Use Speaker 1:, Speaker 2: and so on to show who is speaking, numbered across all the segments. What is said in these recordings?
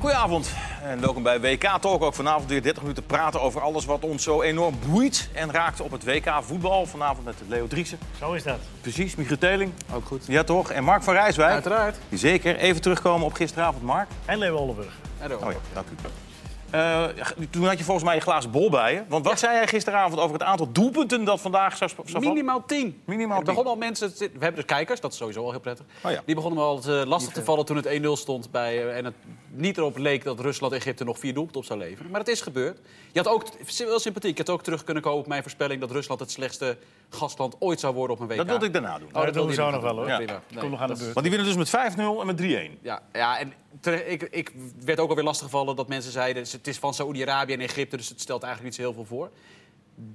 Speaker 1: Goedenavond en welkom bij WK Talk. Ook vanavond weer 30 minuten praten over alles wat ons zo enorm boeit en raakt op het WK voetbal. Vanavond met Leo Driessen.
Speaker 2: Zo is dat.
Speaker 1: Precies, Michiel Teling.
Speaker 3: Ook goed.
Speaker 1: Ja toch? En Mark van Rijswijk.
Speaker 3: Uiteraard.
Speaker 1: Zeker. Even terugkomen op gisteravond, Mark.
Speaker 2: En Leo Ollenburg.
Speaker 3: Hallo.
Speaker 1: Oh ja, dank u. Eh, ja, toen had je volgens mij een glazen bol bij je. Want wat zei jij gisteravond over het aantal doelpunten dat vandaag zou... zou vallen?
Speaker 3: Minimaal 10.
Speaker 1: Minimaal
Speaker 3: Er begonnen al mensen. te- We hebben dus kijkers, dat is sowieso al heel prettig.
Speaker 1: Oh ja.
Speaker 3: Die begonnen me al eh, lastig te vallen toen het 1-0 stond. Bij, eh, en het niet erop leek dat Rusland-Egypte nog vier doelpunten op zou leveren. Maar het is gebeurd. Je had ook, wel sympathiek, je had ook terug kunnen komen op mijn voorspelling... dat Rusland het slechtste gastland ooit zou worden op een WK. Oh,
Speaker 1: Dat wilde ik daarna doen.
Speaker 2: dat doen we
Speaker 3: wil
Speaker 2: zo
Speaker 3: je
Speaker 2: nog wel, hoor.
Speaker 3: Ja,
Speaker 1: Ja.
Speaker 3: prima.
Speaker 2: Kom nog aan de beurt.
Speaker 1: Want die winnen dus met 5-0 en met 3-1.
Speaker 3: Ja, ja en tere- ik, ik werd ook alweer lastiggevallen dat mensen zeiden... het is van Saoedi-Arabië en Egypte, dus het stelt eigenlijk niet zo heel veel voor.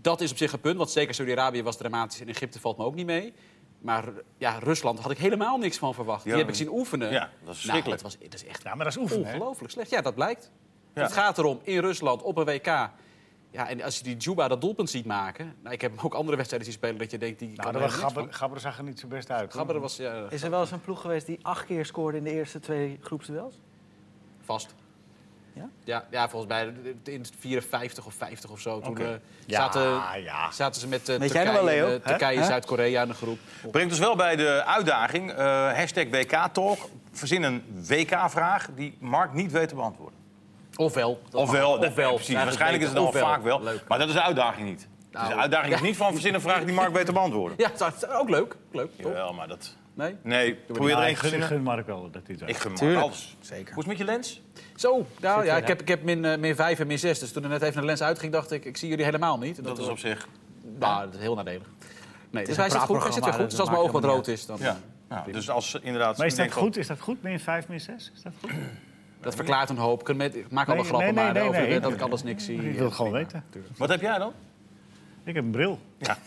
Speaker 3: Dat is op zich een punt, want zeker Saoedi-Arabië was dramatisch... en Egypte valt me ook niet mee. Maar ja, Rusland had ik helemaal niks van verwacht.
Speaker 1: Ja.
Speaker 3: Die heb ik zien oefenen.
Speaker 1: Ja, dat is verschrikkelijk.
Speaker 3: Nou, dat, was, dat is echt
Speaker 2: Ja, maar dat is oefenen. hè? Nou,
Speaker 3: ongelooflijk slecht. Ja, dat blijkt.
Speaker 1: Ja.
Speaker 3: Het gaat erom, in Rusland, op een WK... Ja, en als je die Juba dat doelpunt ziet maken... Nou, ik heb ook andere wedstrijden zien spelen dat je denkt... Die
Speaker 2: Nou,
Speaker 3: kan
Speaker 2: dat
Speaker 3: er
Speaker 2: was
Speaker 3: helemaal niks
Speaker 2: Gabber, Gabber zag er niet zo best
Speaker 3: van.
Speaker 2: uit. hoor.
Speaker 3: Gabber was ja,
Speaker 4: Is er wel eens een ploeg geweest die acht keer scoorde in de eerste twee groepsduels?
Speaker 3: Vast.
Speaker 4: Ja?
Speaker 3: Ja, ja, volgens mij in 54 of 50 of zo. Toen
Speaker 1: Oké.
Speaker 3: eh,
Speaker 2: Ja,
Speaker 3: zaten,
Speaker 2: ja.
Speaker 3: zaten ze met eh,
Speaker 4: Weet jij
Speaker 3: Turkije,
Speaker 4: nog wel, Leo?
Speaker 3: eh, Turkije
Speaker 4: Hè?
Speaker 3: Zuid-Korea in de groep.
Speaker 1: Brengt ons wel bij de uitdaging. eh hashtag WK-talk. Verzin een WK-vraag die Mark niet weet te beantwoorden.
Speaker 3: Ofwel. dat
Speaker 1: Ofwel,
Speaker 3: mag.
Speaker 1: nee, precies. Waarschijnlijk is het dan
Speaker 3: beter.
Speaker 1: vaak wel.
Speaker 3: Leuk.
Speaker 1: Maar dat is de uitdaging niet. dus de
Speaker 3: Nou,
Speaker 1: uitdaging is
Speaker 3: ja.
Speaker 1: niet van verzin een vraag die Mark weet te beantwoorden.
Speaker 3: Ja, dat is ook leuk. Leuk, toch?
Speaker 1: Jawel, maar dat...
Speaker 3: Nee?
Speaker 1: Nee, probeer
Speaker 2: Ja,
Speaker 1: er één te
Speaker 2: ik gun, ik
Speaker 1: verzinnen.
Speaker 2: gun Mark wel dat hij het wel.
Speaker 1: Ik gun Mark
Speaker 4: Tuurlijk.
Speaker 1: alles. Zeker. Hoe is het met je lens?
Speaker 3: Zo, nou ja, ik heb, ik heb min, eh, min 5 en min 6. Dus toen er net even een lens uitging, dacht ik, ik zie jullie helemaal niet. En
Speaker 1: Dat is op zich...
Speaker 3: nou, dat is heel nadelig. Nee, dus
Speaker 4: een
Speaker 3: hij zit goed, hij
Speaker 4: praatprogramma,
Speaker 3: zit weer goed.
Speaker 4: dus
Speaker 3: Dus als
Speaker 4: dat
Speaker 3: mijn oog
Speaker 4: maakt
Speaker 3: wat
Speaker 4: helemaal
Speaker 3: rood is, dan...
Speaker 1: Ja. Nou, dus als ze inderdaad...
Speaker 2: Maar is dat
Speaker 1: denken van-
Speaker 2: goed? Is dat goed? Min 5, min 6? Is dat goed?
Speaker 3: Dat verklaart een hoop. Ik kan met- Ik maak allemaal
Speaker 2: Nee,
Speaker 3: grappen,
Speaker 2: nee, nee,
Speaker 3: maar eh, over
Speaker 2: nee, nee.
Speaker 3: dat ik alles niks zie.
Speaker 2: Ik wil het gewoon weten.
Speaker 1: Wat heb jij dan?
Speaker 2: Ik heb een bril.
Speaker 1: Ja.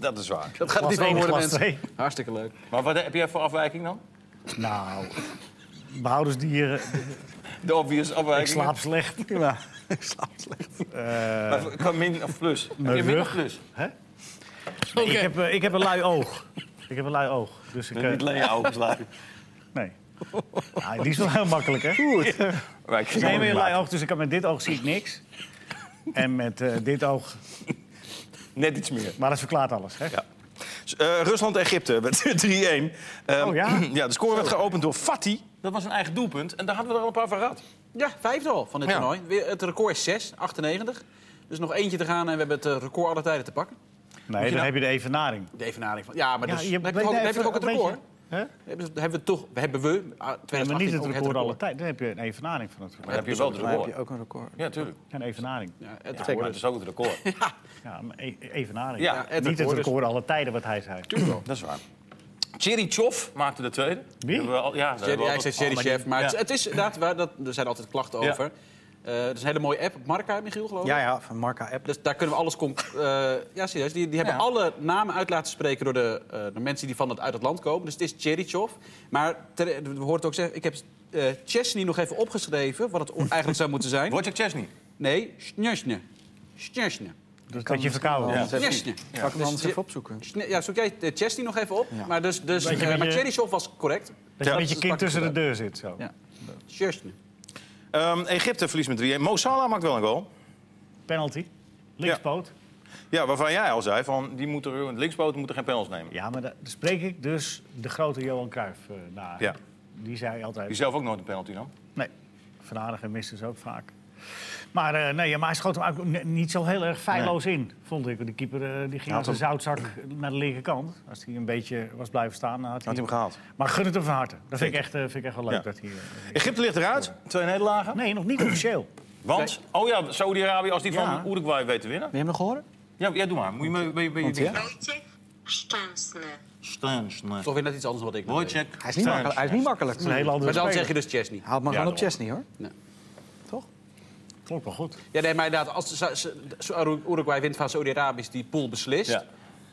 Speaker 1: Dat is waar.
Speaker 3: Dat gaat het
Speaker 2: Klas
Speaker 3: niet wel
Speaker 2: één,
Speaker 3: worden,
Speaker 2: klas
Speaker 3: mensen.
Speaker 2: twee.
Speaker 3: Hartstikke leuk.
Speaker 1: Maar wat heb jij voor afwijking dan?
Speaker 2: Nou, behouders dieren.
Speaker 1: De obvious
Speaker 2: Ik
Speaker 1: afwijking.
Speaker 2: slaap slecht.
Speaker 4: Ja, ik slaap slecht.
Speaker 2: Eh,
Speaker 1: Maar Qua min of plus? Heb je
Speaker 2: Mijn
Speaker 1: min of
Speaker 2: rug.
Speaker 1: plus?
Speaker 2: hè? ik, heb, eh, ik heb een lui oog. Ik heb een lui oog. Dus ik, eh,
Speaker 1: Niet alleen je ogen sluiten.
Speaker 2: nee. Nou, die is wel heel makkelijk, hè?
Speaker 1: Maar ik-
Speaker 2: Nee, met een lui oog. Dus ik kan met dit oog zie ik niks. En met eh, dit oog.
Speaker 1: Net iets meer.
Speaker 2: Maar dat verklaart alles, hè?
Speaker 1: Ja. Eh, Rusland-Egypte met 3-1. Ehm,
Speaker 2: Oh, ja?
Speaker 1: de score werd geopend door Fati. Dat was een eigen doelpunt. En daar hadden we er al een paar van gehad.
Speaker 3: Ja, vijfde al van dit
Speaker 1: Ja.
Speaker 3: toernooi. Weer, het record is 6, 98. Dus nog eentje te gaan en we hebben het eh, record alle tijden te pakken.
Speaker 2: Nee, dan heb je de evenaring.
Speaker 3: De evenaring van... Ja, maar
Speaker 2: Ja,
Speaker 3: dus,
Speaker 2: je
Speaker 3: heb je
Speaker 2: weet
Speaker 3: toch ook,
Speaker 2: even
Speaker 3: heb je toch ook het
Speaker 2: een
Speaker 3: record?
Speaker 2: beetje- Hè?
Speaker 3: Hebben, ze- hebben we toch... Hebben we... ah,
Speaker 2: Ja,
Speaker 3: 2018
Speaker 2: maar niet het
Speaker 3: ook
Speaker 2: record alle tijd. Dan heb je een evenaring van het
Speaker 1: Maar
Speaker 2: record.
Speaker 1: heb je wel het
Speaker 4: Maar heb
Speaker 1: record.
Speaker 4: je ook een record.
Speaker 1: Ja, tuurlijk.
Speaker 2: Een evenaring.
Speaker 3: Ja, het
Speaker 1: Zeker,
Speaker 3: record.
Speaker 1: maar het is ook het record.
Speaker 2: Ja, maar e- evenaring.
Speaker 1: Ja,
Speaker 2: niet
Speaker 3: het
Speaker 2: het
Speaker 3: record is-
Speaker 2: record alle tijden wat hij zei.
Speaker 1: Dat is waar. Thierry Chof maakte de tweede.
Speaker 2: Wie?
Speaker 1: Hebben we al- ja, daar
Speaker 3: Jerry,
Speaker 1: hebben we
Speaker 3: hij
Speaker 1: al-
Speaker 3: zei Jerry
Speaker 2: Oh,
Speaker 1: maar die-
Speaker 3: Chef, maar het,
Speaker 1: ja.
Speaker 3: het is inderdaad... Waar, dat, er zijn altijd klachten
Speaker 1: Ja.
Speaker 3: over. Eh, er is een hele mooie app, Marca, Michiel, geloof ik.
Speaker 4: Ja, ja, van Marca App.
Speaker 3: Dus daar kunnen we alles... com- eh, ja, serieus. Die, die hebben
Speaker 1: Ja.
Speaker 3: alle namen uit laten spreken door de, eh, de mensen die van het, uit het land komen. Dus het is Tjerichov. Maar ter- we horen het ook zeggen... Ik heb eh Chesney nog even opgeschreven, wat het o- eigenlijk zou moeten zijn.
Speaker 1: Wojciech Chesney.
Speaker 3: Nee, Snjusne. Snjusne.
Speaker 2: Dus dat je verkouden
Speaker 1: Ja.
Speaker 2: bent.
Speaker 4: Zal
Speaker 3: Snjusne.
Speaker 4: ik hem
Speaker 3: Dus
Speaker 4: anders
Speaker 3: Je-
Speaker 4: even opzoeken?
Speaker 3: Sne- Ja, zoek jij eh, Chesney nog even op.
Speaker 4: Ja.
Speaker 3: Maar, dus, dus,
Speaker 2: Weet je
Speaker 3: eh,
Speaker 2: wat
Speaker 3: maar
Speaker 2: je-
Speaker 3: Tjerichov was correct.
Speaker 2: Dat je
Speaker 1: Ja,
Speaker 2: met je
Speaker 3: dat
Speaker 2: kind
Speaker 3: pak ik
Speaker 2: tussen de
Speaker 3: wel.
Speaker 2: deur zit. Zo.
Speaker 3: Ja. Snjusne.
Speaker 1: Ehm, Egypte verliest met 3-1. Mo Salah maakt wel een goal.
Speaker 2: Penalty. Linkspoot.
Speaker 1: Ja, waarvan jij al zei, van, die moeten er, linksboten moeten geen panels nemen.
Speaker 2: Ja, maar daar spreek ik dus de grote Johan Cruijff eh na.
Speaker 1: Ja.
Speaker 2: Die zei altijd...
Speaker 1: Die zelf ook nooit een penalty nam.
Speaker 2: Nee, Van Aardigen miste ze ook vaak. Maar, eh, nee, ja, maar hij schoot hem ook ne- niet zo heel erg feilloos in, vond ik. De keeper eh, die ging als een zoutzak naar de linkerkant. Als hij een beetje was blijven staan, dan had
Speaker 1: Had hij
Speaker 2: hij...
Speaker 1: hem gehaald.
Speaker 2: Maar gun het hem van harte. Dat vind ik echt, eh, vind ik echt wel leuk.
Speaker 1: Ja.
Speaker 2: Dat hij, eh,
Speaker 1: Egypte ligt eruit. Twee nederlagen.
Speaker 2: nee, nog niet officieel.
Speaker 1: Want, oh ja, Saudi-Arabië, als die
Speaker 2: Ja.
Speaker 1: van Uruguay weet te winnen.
Speaker 4: Wil je hem nog horen?
Speaker 1: Ja, ja doe maar. Moet je me bij je- bij je
Speaker 4: Want ja.
Speaker 1: ding-
Speaker 5: Wojciech Szczęsny.
Speaker 1: Stans, nee.
Speaker 3: Toch weer net iets anders wat ik net deed.
Speaker 1: Wojciech
Speaker 4: Hij is niet, makkelijk.
Speaker 1: Stans.
Speaker 4: hij is niet makkelijk.
Speaker 2: Een hele andere
Speaker 3: Maar dan
Speaker 2: speler.
Speaker 3: zeg je dus Chesney.
Speaker 4: Haal maar
Speaker 2: Ja,
Speaker 4: gewoon op
Speaker 2: dat wel.
Speaker 4: Chesney hoor.
Speaker 3: Nee.
Speaker 4: Toch?
Speaker 2: Klopt wel goed.
Speaker 3: Ja, nee, maar inderdaad, als Sa- Sa- Sa- Uruguay wint van Saudi-Arabisch die pool beslist...
Speaker 1: Ja.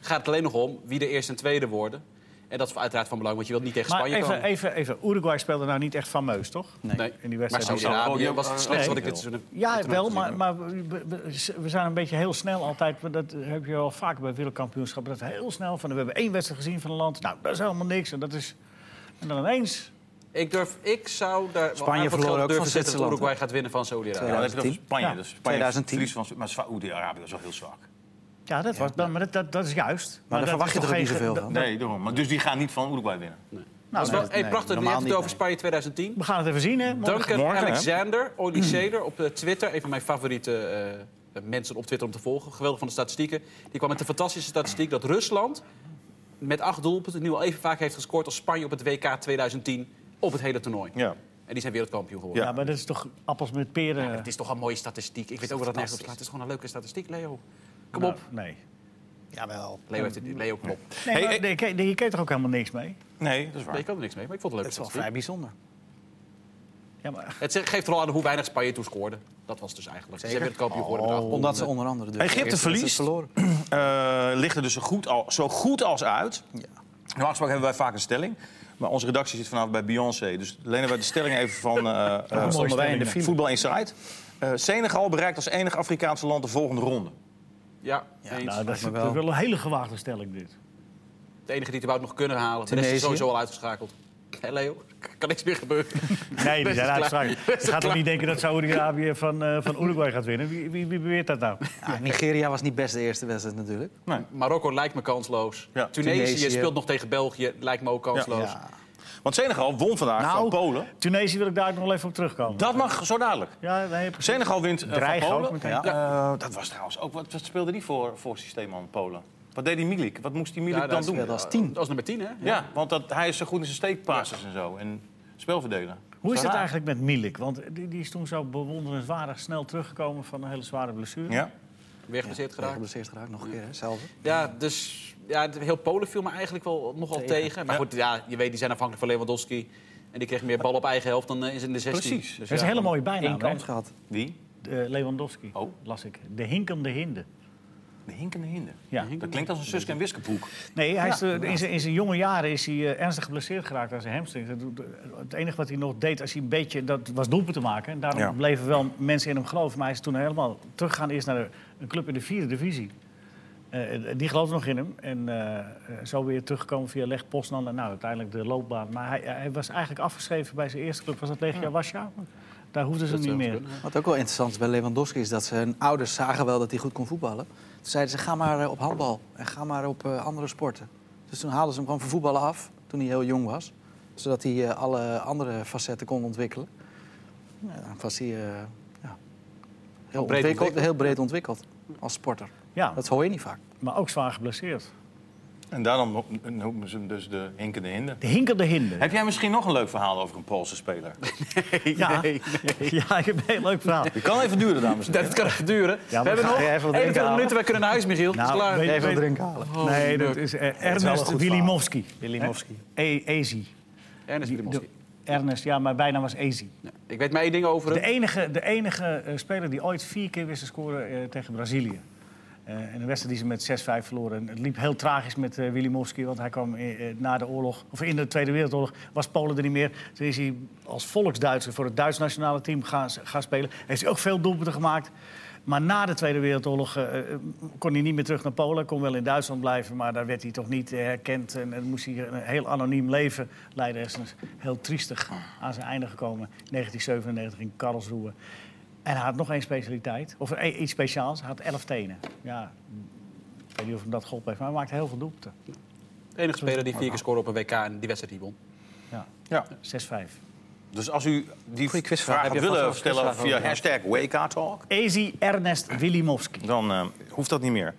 Speaker 3: gaat het alleen nog om wie de eerste en tweede worden. En dat is uiteraard van belang, want je wilt niet tegen
Speaker 2: Maar
Speaker 3: Spanje
Speaker 2: even,
Speaker 3: komen.
Speaker 2: even, even, Uruguay speelde nou niet echt fameus, toch?
Speaker 3: nee.
Speaker 2: in die
Speaker 3: maar
Speaker 2: wedstrijd is
Speaker 3: Saudi-Arabië
Speaker 1: wel-
Speaker 3: was het slechtste wat ik
Speaker 1: Nee.
Speaker 3: dit seizoen heb-
Speaker 2: Ja,
Speaker 3: dit
Speaker 2: wel,
Speaker 3: seizoen
Speaker 2: maar,
Speaker 3: heb
Speaker 2: maar we, we- we zijn een beetje heel snel altijd. maar Dat heb je wel vaker bij wereldkampioenschappen. Dat heel snel van, we hebben één wedstrijd gezien van een land. Nou, dat is helemaal niks. En, dat is, en dan ineens
Speaker 3: Ik, durf, ik zou daar wel
Speaker 6: Spanje
Speaker 3: aardig wat
Speaker 6: verloor
Speaker 3: geld
Speaker 6: ook
Speaker 3: durven
Speaker 6: van
Speaker 3: zetten dat
Speaker 6: Zwitserland,
Speaker 3: Uruguay gaat winnen van Saudi-Arabië.
Speaker 1: Ja, dan heb je dan
Speaker 6: 2010.
Speaker 1: Spanje.
Speaker 2: Ja,
Speaker 1: Dus Spanje
Speaker 6: 2010.
Speaker 1: verliest van- maar Saoedi-Arabië was wel heel zwak.
Speaker 2: Ja, dat, was, dat, maar dat, dat, dat is juist. Maar,
Speaker 6: daar
Speaker 2: dat
Speaker 6: verwacht
Speaker 2: is
Speaker 6: je
Speaker 2: toch
Speaker 6: toch
Speaker 2: geen- Nou,
Speaker 6: niet zoveel
Speaker 2: dat-
Speaker 6: van?
Speaker 1: Nee, daarom. Maar dus die gaan niet van Uruguay winnen.
Speaker 3: dat is wel, hey,
Speaker 6: nee,
Speaker 3: prachtig, je
Speaker 6: normaal
Speaker 3: hebt het
Speaker 6: niet,
Speaker 3: over
Speaker 6: nee.
Speaker 3: Spanje 2010.
Speaker 2: nou, We gaan het even zien, hè? morgen.
Speaker 3: Duncan
Speaker 1: Morgen, hè?
Speaker 3: Alexander, Oli Ceder op eh, Twitter. Een van mijn favoriete eh, mensen op Twitter om te volgen. Geweldig van de statistieken. Die kwam met de fantastische statistiek dat Rusland met acht doelpunten nu al even vaak heeft gescoord als Spanje op het WK 2010 op het hele toernooi.
Speaker 1: Ja.
Speaker 3: En die zijn wereldkampioen geworden.
Speaker 2: Ja, maar dat is toch appels met peren?
Speaker 3: Het is toch een mooie statistiek. Ik weet ook wel dat nergens op slaat. Het is gewoon een leuke statistiek, Leo. Kom
Speaker 2: Nou,
Speaker 3: op.
Speaker 2: Nee.
Speaker 6: Jawel.
Speaker 3: Leo, heeft het, Leo kom op.
Speaker 2: Nee,
Speaker 1: Hey,
Speaker 2: maar
Speaker 1: hey.
Speaker 2: nee, kijk, nee, je kent er ook helemaal niks mee.
Speaker 1: Nee, dat is waar.
Speaker 3: Nee, ik kan er niks mee, maar ik vond het
Speaker 6: Dat
Speaker 3: leuk.
Speaker 6: is wel vrij bijzonder.
Speaker 2: Ja, maar,
Speaker 3: Het zegt- geeft er al aan hoe weinig Spanje toen scoorde. Dat was dus eigenlijk. Ze zijn wereldkampioen geworden met acht punten.
Speaker 6: Oh. Omdat ze onder andere... de
Speaker 1: Egypte
Speaker 6: eerste wedstrijd
Speaker 1: verliest.
Speaker 6: verloren.
Speaker 1: Eh, ligt er dus zo goed, al, zo goed als uit. Normaal gesproken hebben wij vaak een stelling. Maar onze redactie zit vanavond bij Beyoncé. Dus lenen wij de stelling even van eh eh,
Speaker 2: mooie
Speaker 1: wij in de
Speaker 2: stelling, hè?
Speaker 1: Voetbal Inside. Eh Senegal bereikt als enig Afrikaanse land de volgende ronde.
Speaker 3: Ja, eens.
Speaker 2: nou, dat, is,
Speaker 6: me wel.
Speaker 2: dat is wel een hele gewaagde stelling, dit.
Speaker 3: De enige die het überhaupt nog kunnen halen. De rest
Speaker 6: Tunesië.
Speaker 3: is sowieso al uitgeschakeld. Hé Leo, kan niks meer gebeuren.
Speaker 2: Nee, die zijn
Speaker 3: Best klaar.
Speaker 2: uitgeschakeld.
Speaker 3: Best
Speaker 2: Je gaat toch
Speaker 3: klaar.
Speaker 2: niet denken dat Saudi-Arabië van, eh, van Uruguay gaat winnen? Wie, wie, wie beweert dat nou?
Speaker 6: Ja, Nigeria was niet best de eerste wedstrijd natuurlijk.
Speaker 3: Marokko lijkt me kansloos.
Speaker 1: Ja.
Speaker 3: Tunesië,
Speaker 6: Tunesië.
Speaker 3: speelt nog tegen België, lijkt me ook kansloos.
Speaker 6: Ja.
Speaker 1: Want Senegal won vandaag van Polen.
Speaker 2: Nou, Tunesië wil ik daar ook nog wel even op terugkomen.
Speaker 1: Nou, Dat mag zo dadelijk.
Speaker 2: Ja, nee, precies.
Speaker 1: Senegal wint eh,
Speaker 2: Dreigen
Speaker 1: van
Speaker 2: ook
Speaker 1: Polen.
Speaker 2: meteen.
Speaker 1: Ja. Eh, dat was trouwens ook... Wat, wat speelde die voor, voor systeem aan Polen? Wat deed die Milik? Wat moest die Milik
Speaker 3: Ja,
Speaker 1: dan
Speaker 3: dat
Speaker 1: doen?
Speaker 6: speelde als tien.
Speaker 3: Dat was nummer 10, hè?
Speaker 1: Ja, want dat, hij is zo goed in zijn steekpases en zo. En spelverdelen.
Speaker 2: Hoe is het
Speaker 1: Raar.
Speaker 2: eigenlijk met Milik? Want die, die is toen zo bewonderenswaardig snel teruggekomen van een hele zware blessure.
Speaker 1: Ja.
Speaker 3: Weer geblesseerd
Speaker 6: Ja,
Speaker 3: geraakt.
Speaker 6: geblesseerd geraakt, nog een keer, hè? Zelfde.
Speaker 3: Ja, dus ja, de- heel Polen viel me eigenlijk wel nogal tegen. Maar
Speaker 1: Ja.
Speaker 3: goed, ja, je weet, die zijn afhankelijk van Lewandowski. En die kreeg meer bal op eigen helft dan eh, is in de 16.
Speaker 1: Precies.
Speaker 2: Dat is een hele mooie bijnaam,
Speaker 6: Eén
Speaker 2: hè?
Speaker 6: kans gehad.
Speaker 1: Die?
Speaker 2: Eh, Lewandowski,
Speaker 1: Oh.
Speaker 2: las ik. De hinkende hinde.
Speaker 1: De hinkende hinder.
Speaker 2: Ja.
Speaker 1: Dat klinkt als een Suske en Wiskeboek.
Speaker 2: Nee, hij is, eh, in, zijn, in zijn jonge jaren is hij eh, ernstig geblesseerd geraakt aan zijn hamstring. Dat doet- eh, Het enige wat hij nog deed als hij een beetje, dat was doelpunten maken. En daarom
Speaker 1: Ja.
Speaker 2: bleven wel mensen in hem geloven. Maar hij is toen helemaal teruggegaan eerst naar de- een club in de vierde divisie. Eh, eh, die geloofde nog in hem. En eh, eh, zo weer teruggekomen via Leg Poznan. En nou, uiteindelijk de loopbaan. Maar hij, hij was eigenlijk afgeschreven bij zijn eerste club. Was dat Legia Warschau? Daar hoefden ze hem niet meer.
Speaker 6: Wat ook wel interessant is bij Lewandowski is dat zijn ouders zagen wel dat hij goed kon voetballen. Toen zeiden ze, ga maar eh, op handbal en ga maar op eh, andere sporten. Dus toen haalden ze hem gewoon van voetballen af, toen hij heel jong was. Zodat hij eh, alle andere facetten kon ontwikkelen. Ja, dan was hij eh, ja, heel, ontwikkeld,
Speaker 3: ontwikkeld.
Speaker 6: heel breed ontwikkeld als sporter.
Speaker 2: Ja,
Speaker 6: Dat hoor je niet vaak.
Speaker 2: maar ook zwaar geblesseerd.
Speaker 1: En daarom noemen ze hem dus de hinkende hinder.
Speaker 2: De hinkende hinde.
Speaker 1: Heb jij misschien nog een leuk verhaal over een Poolse speler?
Speaker 2: Ja, ja, ik heb een heel leuk verhaal.
Speaker 1: Die kan even duren, dames en
Speaker 3: Dat, dat kan even duren.
Speaker 2: maar
Speaker 3: we hebben
Speaker 2: ga
Speaker 3: nog
Speaker 6: jij even wat
Speaker 3: 21
Speaker 6: drinken halen?
Speaker 3: minuten, wij kunnen naar huis, Michiel. Het is klaar.
Speaker 2: weet- weet-
Speaker 6: halen.
Speaker 2: nee, dat is eh, Ernest
Speaker 6: goed
Speaker 2: Wilimowski.
Speaker 6: Wilimowski.
Speaker 2: Eh, E- Ezi.
Speaker 3: Ernest Wilimowski.
Speaker 2: Ernest, ja, maar bijna was Ezi.
Speaker 3: Ja, Ik weet maar één ding over
Speaker 2: De e-
Speaker 3: hem.
Speaker 2: enige, de enige eh, speler die ooit vier keer wist te scoren eh, tegen Brazilië. Eh en de wedstrijd die ze met 6-5 verloren. En het liep heel tragisch met eh Wilimowski, want hij kwam eh, eh, na de oorlog, of in de Tweede Wereldoorlog, was Polen er niet meer. Toen is hij als volksduitser voor het Duits nationale team gaan, gaan spelen. Heeft hij ook veel doelpunten gemaakt. Maar na de Tweede Wereldoorlog eh, eh, kon hij niet meer terug naar Polen. Kon wel in Duitsland blijven, maar daar werd hij toch niet eh, herkend. En, en moest hij een heel anoniem leven leiden. Hij is dus heel triestig aan zijn einde gekomen. 1997 in Karlsruhe. En hij had nog één specialiteit, of e- iets speciaals. Hij had elf tenen. Ja, ik weet niet of hem dat geholpen heeft, maar hij maakte heel veel doelpunten.
Speaker 3: De enige speler die vier keer scoorde op een WK en die wedstrijd die won.
Speaker 2: Ja,
Speaker 1: Ja.
Speaker 2: 6-5.
Speaker 1: Dus als u die
Speaker 6: Goeie
Speaker 1: vraag
Speaker 6: quizvraag.
Speaker 1: had
Speaker 6: Heb je vast wel
Speaker 1: willen
Speaker 6: een
Speaker 1: stellen
Speaker 6: quizvraag
Speaker 1: via
Speaker 6: over
Speaker 1: hashtag WakeUpTalk,
Speaker 2: Ezi Ernest Wilimowski.
Speaker 1: dan eh, hoeft dat niet meer.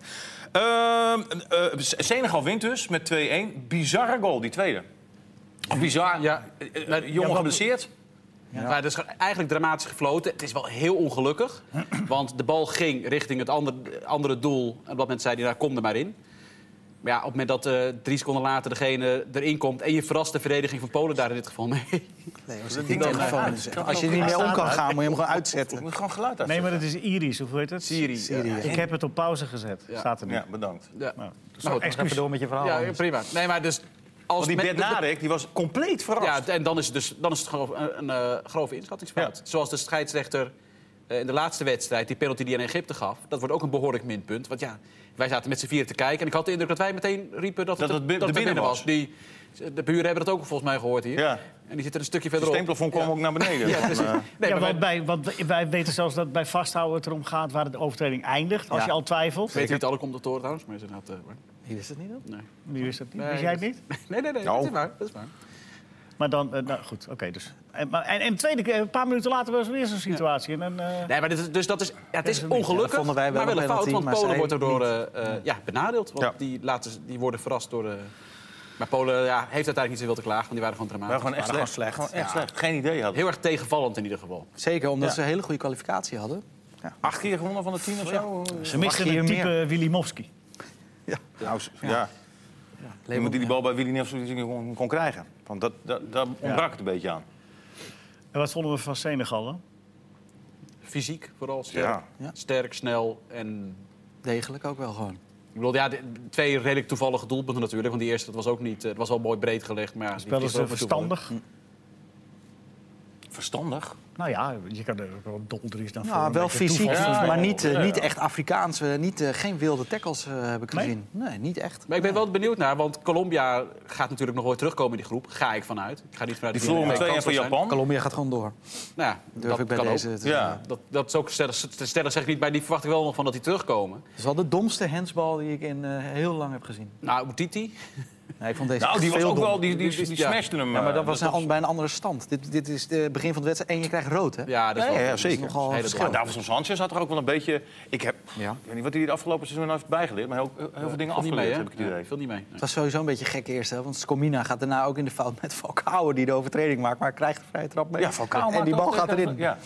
Speaker 1: Ehm, eh, Senegal wint dus met 2-1. Bizarre goal, die tweede. Of Bizar.
Speaker 3: Ja,
Speaker 1: Eh,
Speaker 3: maar-
Speaker 1: eh, jongen geblesseerd.
Speaker 3: Maar het is gewoon eigenlijk dramatisch gefloten. Het is wel heel ongelukkig. Want de bal ging richting het ander- andere doel. En op dat moment zei hij, nou, kom er maar in. Maar ja, op het moment dat eh, drie seconden later degene erin komt... en je verrast de verdediging van Polen daar in dit geval mee.
Speaker 6: Nee, als
Speaker 1: ding
Speaker 6: je,
Speaker 1: ook
Speaker 6: telefoon
Speaker 1: uit.
Speaker 6: is-
Speaker 1: Kan
Speaker 6: als je
Speaker 1: ook
Speaker 6: er niet
Speaker 2: niet
Speaker 6: mee om kan
Speaker 2: staan,
Speaker 6: gaan, moet je hem gewoon
Speaker 1: Ik
Speaker 6: uitzetten.
Speaker 1: moet gewoon geluid uit.
Speaker 2: Nee, maar dat is Iris, of hoe heet het?
Speaker 3: Syrië.
Speaker 6: Syrië.
Speaker 2: Ik heb het op pauze gezet,
Speaker 3: Ja.
Speaker 2: staat er nu.
Speaker 1: Ja, bedankt.
Speaker 3: Ja.
Speaker 2: Nou, dus
Speaker 3: Nou,
Speaker 2: excuus.
Speaker 6: Even door met je verhaal.
Speaker 3: Ja,
Speaker 6: anders.
Speaker 3: prima. Nee, maar dus...
Speaker 1: Want
Speaker 3: Als
Speaker 1: die
Speaker 3: men- de- de-
Speaker 1: Bednarek die was compleet verrast.
Speaker 3: Ja, en dan is het, dus, dan is het gewoon een, een eh, grove inschattingsfout. Zoals de scheidsrechter eh, in de laatste wedstrijd, die penalty die hij aan Egypte gaf, dat wordt ook een behoorlijk minpunt. Want ja, wij zaten met z'n vieren te kijken en ik had de indruk dat wij meteen riepen dat,
Speaker 1: Dat
Speaker 3: het,
Speaker 1: het bi-
Speaker 3: dat
Speaker 1: de
Speaker 3: het
Speaker 1: winnaar was.
Speaker 3: Die, de buren hebben dat ook volgens mij gehoord hier.
Speaker 1: Ja.
Speaker 3: En die zitten een stukje
Speaker 1: Het
Speaker 3: verderop.
Speaker 1: steemplafond kwam
Speaker 3: Ja.
Speaker 1: ook naar beneden.
Speaker 3: Ja,
Speaker 1: Van,
Speaker 3: precies.
Speaker 1: eh,
Speaker 3: Nee,
Speaker 2: ja,
Speaker 3: maar
Speaker 2: want
Speaker 3: wij
Speaker 2: bij, want wij weten zelfs dat bij vasthouden het erom gaat waar de overtreding eindigt. Als
Speaker 6: Ja.
Speaker 2: je al twijfelt.
Speaker 3: weten niet alle commentatoren trouwens, maar is inderdaad... eh, waar.
Speaker 6: Hier is het niet dan?
Speaker 3: nee.
Speaker 2: Wie is dat niet?
Speaker 3: Nee,
Speaker 2: Wist jij het
Speaker 3: dat-
Speaker 2: niet?
Speaker 3: nee, nee, nee,
Speaker 1: Nou.
Speaker 3: dat is waar. Dat is waar.
Speaker 2: Maar dan, eh, nou goed, oké. dus. En, maar, en, en de tweede keer, een paar minuten later was er weer zo'n situatie. En, dan, eh,
Speaker 3: Nee, maar dit is, dus dat is, ja, het is
Speaker 2: dat niet.
Speaker 3: ongelukkig,
Speaker 6: Ja, dat vonden wij wel
Speaker 3: maar wel
Speaker 6: een
Speaker 3: een fout.
Speaker 6: penalty,
Speaker 3: Want
Speaker 6: maar
Speaker 3: Polen
Speaker 6: zij
Speaker 3: wordt erdoor eh, eh, ja, benadeeld. Want
Speaker 1: Ja.
Speaker 3: die, laten, die worden verrast door... eh, maar Polen ja, heeft uiteindelijk niet zoveel te klagen, want die waren gewoon
Speaker 1: maar
Speaker 3: dramatisch.
Speaker 1: gewoon echt
Speaker 6: gewoon
Speaker 1: slecht.
Speaker 6: slecht.
Speaker 1: Gewoon echt slecht. Geen idee hadden.
Speaker 3: Heel erg tegenvallend in ieder geval.
Speaker 6: Zeker, omdat
Speaker 1: Ja.
Speaker 6: ze een hele goede kwalificatie hadden.
Speaker 1: Acht keer gewonnen van de tien of zo?
Speaker 2: ze misten
Speaker 6: mag je
Speaker 2: een
Speaker 6: hier
Speaker 2: type Willy Mofsky.
Speaker 1: Nou, s- ja. Je moet die, die bal bij Willy Nelson kon, kon krijgen. Want dat, dat, daar ontbrak het een beetje aan.
Speaker 2: En wat vonden we van Senegal? hè?
Speaker 3: Fysiek vooral sterk.
Speaker 1: Ja.
Speaker 6: Ja.
Speaker 3: Sterk, snel en...
Speaker 6: Degelijk ook wel gewoon.
Speaker 3: Ik bedoel, ja, de- twee redelijk toevallige doelpunten natuurlijk. Want die eerste dat was ook niet... eh, Het was wel mooi breed gelegd, maar... Ja, die
Speaker 2: Spelen
Speaker 3: vliegt
Speaker 2: ze
Speaker 3: ook weer toevallig.
Speaker 2: verstandig?
Speaker 6: Mm.
Speaker 1: Verstandig.
Speaker 2: Nou ja, je kan er ook wel doldries dan voor.
Speaker 6: Nou,
Speaker 2: een
Speaker 6: wel
Speaker 2: beetje
Speaker 6: fysiek,
Speaker 2: toeval.
Speaker 1: Ja,
Speaker 6: maar
Speaker 1: ja,
Speaker 6: niet, eh,
Speaker 1: ja, ja.
Speaker 6: niet echt Afrikaans. eh, niet, eh, geen wilde tackles eh, heb ik
Speaker 2: Nee?
Speaker 6: gezien. Nee, niet echt.
Speaker 3: Maar ik ben wel benieuwd naar, want Colombia gaat natuurlijk nog ooit terugkomen in die groep. Ga ik vanuit. Ik ga niet vanuit
Speaker 1: Die
Speaker 3: dat
Speaker 1: verloren met 2
Speaker 3: allebei
Speaker 1: en van
Speaker 3: kansloos
Speaker 1: Japan.
Speaker 6: Colombia gaat gewoon door.
Speaker 3: zijn. Nou ja,
Speaker 6: Durf
Speaker 3: dat
Speaker 6: ik bij
Speaker 3: kan
Speaker 6: deze
Speaker 3: ook.
Speaker 6: te
Speaker 1: Ja.
Speaker 3: Dat, dat is ook stellig, stellig zeg ik niet, maar die verwacht ik wel nog van dat die terugkomen.
Speaker 6: Het is wel de domste handsbal die ik in eh, heel lang heb gezien.
Speaker 3: Nou, Oetiti,
Speaker 6: Nee, ik vond deze
Speaker 1: Nou, die was
Speaker 6: veel
Speaker 1: ook wel,
Speaker 6: dommer.
Speaker 1: die, die, die, die
Speaker 3: Ja.
Speaker 1: smashte hem.
Speaker 6: Ja, maar
Speaker 1: eh,
Speaker 6: dat was
Speaker 1: toch-
Speaker 6: een an- bij een andere stand. Dit, dit is het begin van de wedstrijd en je krijgt rood, hè?
Speaker 3: ja, dat is
Speaker 1: Ja,
Speaker 3: wel-
Speaker 1: ja,
Speaker 3: dat is
Speaker 1: zeker.
Speaker 3: nogal een hele
Speaker 1: Maar
Speaker 6: Verschil.
Speaker 3: doel.
Speaker 1: Davidson Sanchez had er ook wel een beetje... Ik, heb,
Speaker 6: Ja.
Speaker 1: ik weet niet wat hij het afgelopen seizoen heeft bijgeleerd... maar heel, heel veel dingen
Speaker 3: Viel niet
Speaker 1: afgeleerd,
Speaker 3: mee, hè?
Speaker 1: heb ik het idee.
Speaker 3: Ja, viel niet mee. nee.
Speaker 6: Het was sowieso een beetje gek eerst, hè? Want Scomina gaat daarna ook in de fout met Falcao... die de overtreding maakt, maar krijgt de vrije trap mee.
Speaker 1: Ja, Falcao
Speaker 6: En die
Speaker 1: maakt
Speaker 6: bal
Speaker 1: ook-
Speaker 6: gaat erin. Ja,
Speaker 1: Ja.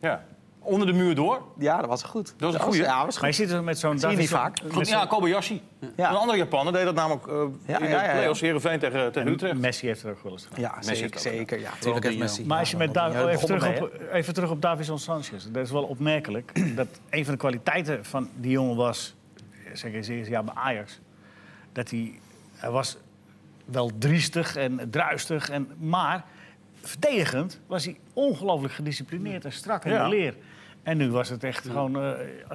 Speaker 1: ja. Onder de muur door.
Speaker 6: dat was goed.
Speaker 1: Dat was een
Speaker 6: goed.
Speaker 1: goeie.
Speaker 6: Ja, dat was
Speaker 2: Maar je
Speaker 6: goed.
Speaker 2: zit er met zo'n...
Speaker 6: Zie je niet
Speaker 2: Davidson-
Speaker 6: vaak.
Speaker 2: met
Speaker 1: Goed,
Speaker 2: zo'n-
Speaker 1: ja, Kobayashi.
Speaker 6: Ja.
Speaker 1: Een andere Japaner deed dat namelijk eh,
Speaker 6: Ja,
Speaker 1: in de
Speaker 6: ja, ja, ja.
Speaker 1: play-offs Heerenveen tegen, tegen Utrecht.
Speaker 2: Messi heeft er ook wel eens gedaan.
Speaker 6: Ja,
Speaker 1: heeft
Speaker 6: zeker.
Speaker 1: het
Speaker 6: zeker. Ja,
Speaker 3: Ronaldinho.
Speaker 6: natuurlijk heeft Messi.
Speaker 2: Maar als je
Speaker 6: Ja,
Speaker 2: met
Speaker 6: Ronaldinho,
Speaker 2: Dav- oh,
Speaker 6: daar
Speaker 2: even, terug
Speaker 6: begonnen
Speaker 2: op, even terug op Davison Sanchez. Dat is wel opmerkelijk. Dat een van de kwaliteiten van die jongen was, eh, zeg eens eerst jaar bij Ajax, dat hij, hij was wel driestig en druistig, en, maar verdedigend was hij ongelooflijk gedisciplineerd en strak in
Speaker 1: Ja.
Speaker 2: de leer. En nu was het echt gewoon, eh,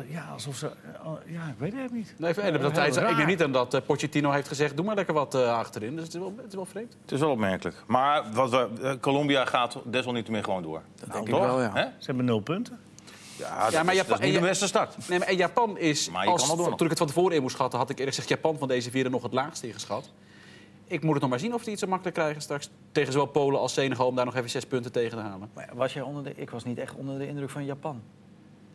Speaker 2: ja, alsof ze, oh, ja, ik weet het niet.
Speaker 3: Nee, en dat
Speaker 2: Heel
Speaker 3: hij, ik
Speaker 2: raar.
Speaker 3: denk niet aan dat eh, Pochettino heeft gezegd, doe maar lekker wat eh, achterin. Dus het is wel, het is wel vreemd.
Speaker 1: Het is wel opmerkelijk. Maar wat we, eh, Colombia gaat desalniettemin gewoon door. Dat
Speaker 6: denk ik wel, ja.
Speaker 1: Hè?
Speaker 2: Ze hebben nul punten.
Speaker 1: Ja, dat, is,
Speaker 3: maar
Speaker 1: dat
Speaker 3: Japan-
Speaker 1: is niet
Speaker 3: en
Speaker 1: de
Speaker 3: Ja-
Speaker 1: beste start.
Speaker 3: Nee, maar en Japan is,
Speaker 1: Maar je
Speaker 3: als,
Speaker 1: kan wel door nog.
Speaker 3: toen ik het van tevoren in moest schatten, had ik eerlijk gezegd Japan van deze vieren nog het laagste ingeschat. Ik moet het nog maar zien of die iets zo makkelijk krijgen straks tegen zowel Polen als Senegal om daar nog even zes punten tegen te halen.
Speaker 6: Maar Was jij onder de, ik was niet echt onder de indruk van Japan.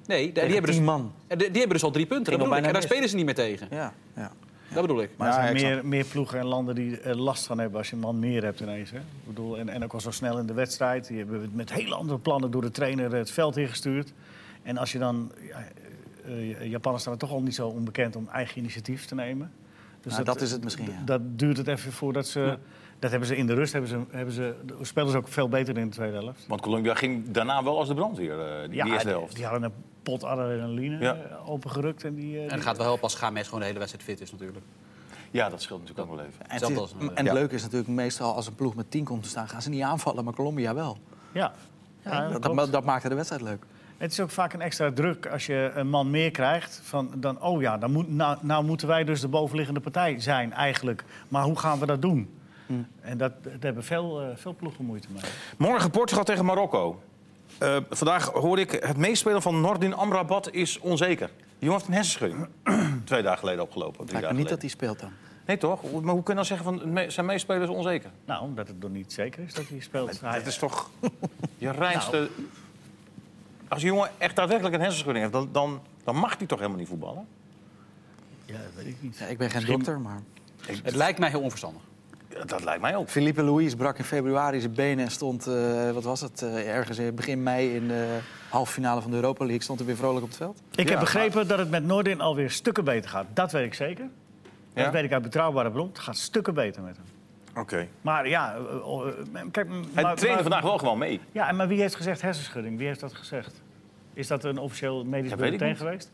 Speaker 3: Nee, die
Speaker 6: Tegen
Speaker 3: hebben, dus,
Speaker 6: tien man.
Speaker 3: die die hebben dus al drie punten.
Speaker 6: Ging
Speaker 3: Dat
Speaker 6: nog
Speaker 3: bedoel ik. En daar
Speaker 6: bijna mis.
Speaker 3: spelen ze niet meer tegen.
Speaker 6: Ja, ja.
Speaker 3: Dat bedoel ik.
Speaker 2: Maar
Speaker 6: Ja,
Speaker 2: er zijn
Speaker 6: ik snap
Speaker 2: meer, meer ploegen en landen die er last van hebben als je een man meer hebt ineens. Hè? Ik bedoel, en, en ook al zo snel in de wedstrijd. Die hebben met hele andere plannen door de trainer het veld ingestuurd. En als je dan... Ja, eh, eh, Japanners staan er toch al niet zo onbekend om eigen initiatief te nemen. Dus
Speaker 6: Nou, dat is het misschien,
Speaker 2: d-
Speaker 6: ja.
Speaker 2: Dat duurt het even voordat ze... Dat hebben ze in de rust, hebben ze, hebben ze, spelen ze ook veel beter in de tweede helft.
Speaker 1: Want Colombia ging daarna wel als de brandweer, eh die eerste helft.
Speaker 2: die hadden een pot adrenaline
Speaker 1: Ja.
Speaker 2: eh, opengerukt. En die, eh,
Speaker 3: En
Speaker 2: die-
Speaker 3: het gaat wel helpen als Games gewoon de hele wedstrijd fit is natuurlijk.
Speaker 1: Ja, dat scheelt natuurlijk ook wel even.
Speaker 6: En,
Speaker 3: Dat
Speaker 6: het,
Speaker 3: was
Speaker 6: is-
Speaker 3: een, eh,
Speaker 6: en het
Speaker 1: ja.
Speaker 6: leuke is natuurlijk meestal als een ploeg met 10 komt te staan... gaan ze niet aanvallen, maar Colombia wel.
Speaker 2: Ja. Ja,
Speaker 6: dat,
Speaker 2: klopt.
Speaker 6: dat, dat maakte de wedstrijd leuk.
Speaker 2: Het is ook vaak een extra druk als je een man meer krijgt. Van dan, oh ja, dan moet, nou, nou moeten wij dus de bovenliggende partij zijn eigenlijk. Maar hoe gaan we dat doen? En dat, daar hebben veel, eh, veel ploegen moeite mee.
Speaker 1: Morgen Portugal tegen Marokko. Eh, vandaag hoor ik het meespelen van Nordin Amrabat is onzeker. Die jongen heeft een hersenschudding. Twee dagen geleden opgelopen. Drie
Speaker 6: Lijkt me
Speaker 1: dagen
Speaker 6: niet dat
Speaker 1: geleden.
Speaker 6: hij speelt dan.
Speaker 1: Nee toch? Hoe- Maar hoe kun je dan zeggen van me- zijn meespelers onzeker?
Speaker 2: Nou, omdat het nog niet zeker is dat hij speelt. Hij-
Speaker 1: Dat is toch je reinste... Als een jongen echt daadwerkelijk een hersenschudding heeft... Dan, dan, dan mag hij toch helemaal niet voetballen?
Speaker 2: Ja, dat weet ik niet.
Speaker 6: Ja, ik ben geen dokter, maar...
Speaker 3: Het lijkt mij heel onverstandig.
Speaker 1: Ja, Dat lijkt mij ook.
Speaker 6: Felipe Luis brak in februari zijn benen en stond, eh, wat was het, eh, ergens in begin mei in de halve finale van de Europa League. Stond hij weer vrolijk op het veld.
Speaker 2: Ik
Speaker 1: Ja,
Speaker 2: heb begrepen dat het met Noordin alweer stukken beter gaat. Dat weet ik zeker.
Speaker 1: Ja?
Speaker 2: Dat weet ik uit betrouwbare bron. Het gaat stukken beter met hem.
Speaker 1: Oké.
Speaker 2: Maar ja, eh, eh, kijk...
Speaker 1: Hij
Speaker 2: maar-
Speaker 1: trainde
Speaker 2: maar-
Speaker 1: vandaag wel gewoon mee.
Speaker 2: Ja, en maar wie heeft gezegd hersenschudding? Wie heeft dat gezegd? Is dat een officieel medisch
Speaker 1: Dat weet ik
Speaker 2: bulletin
Speaker 1: niet.
Speaker 2: geweest?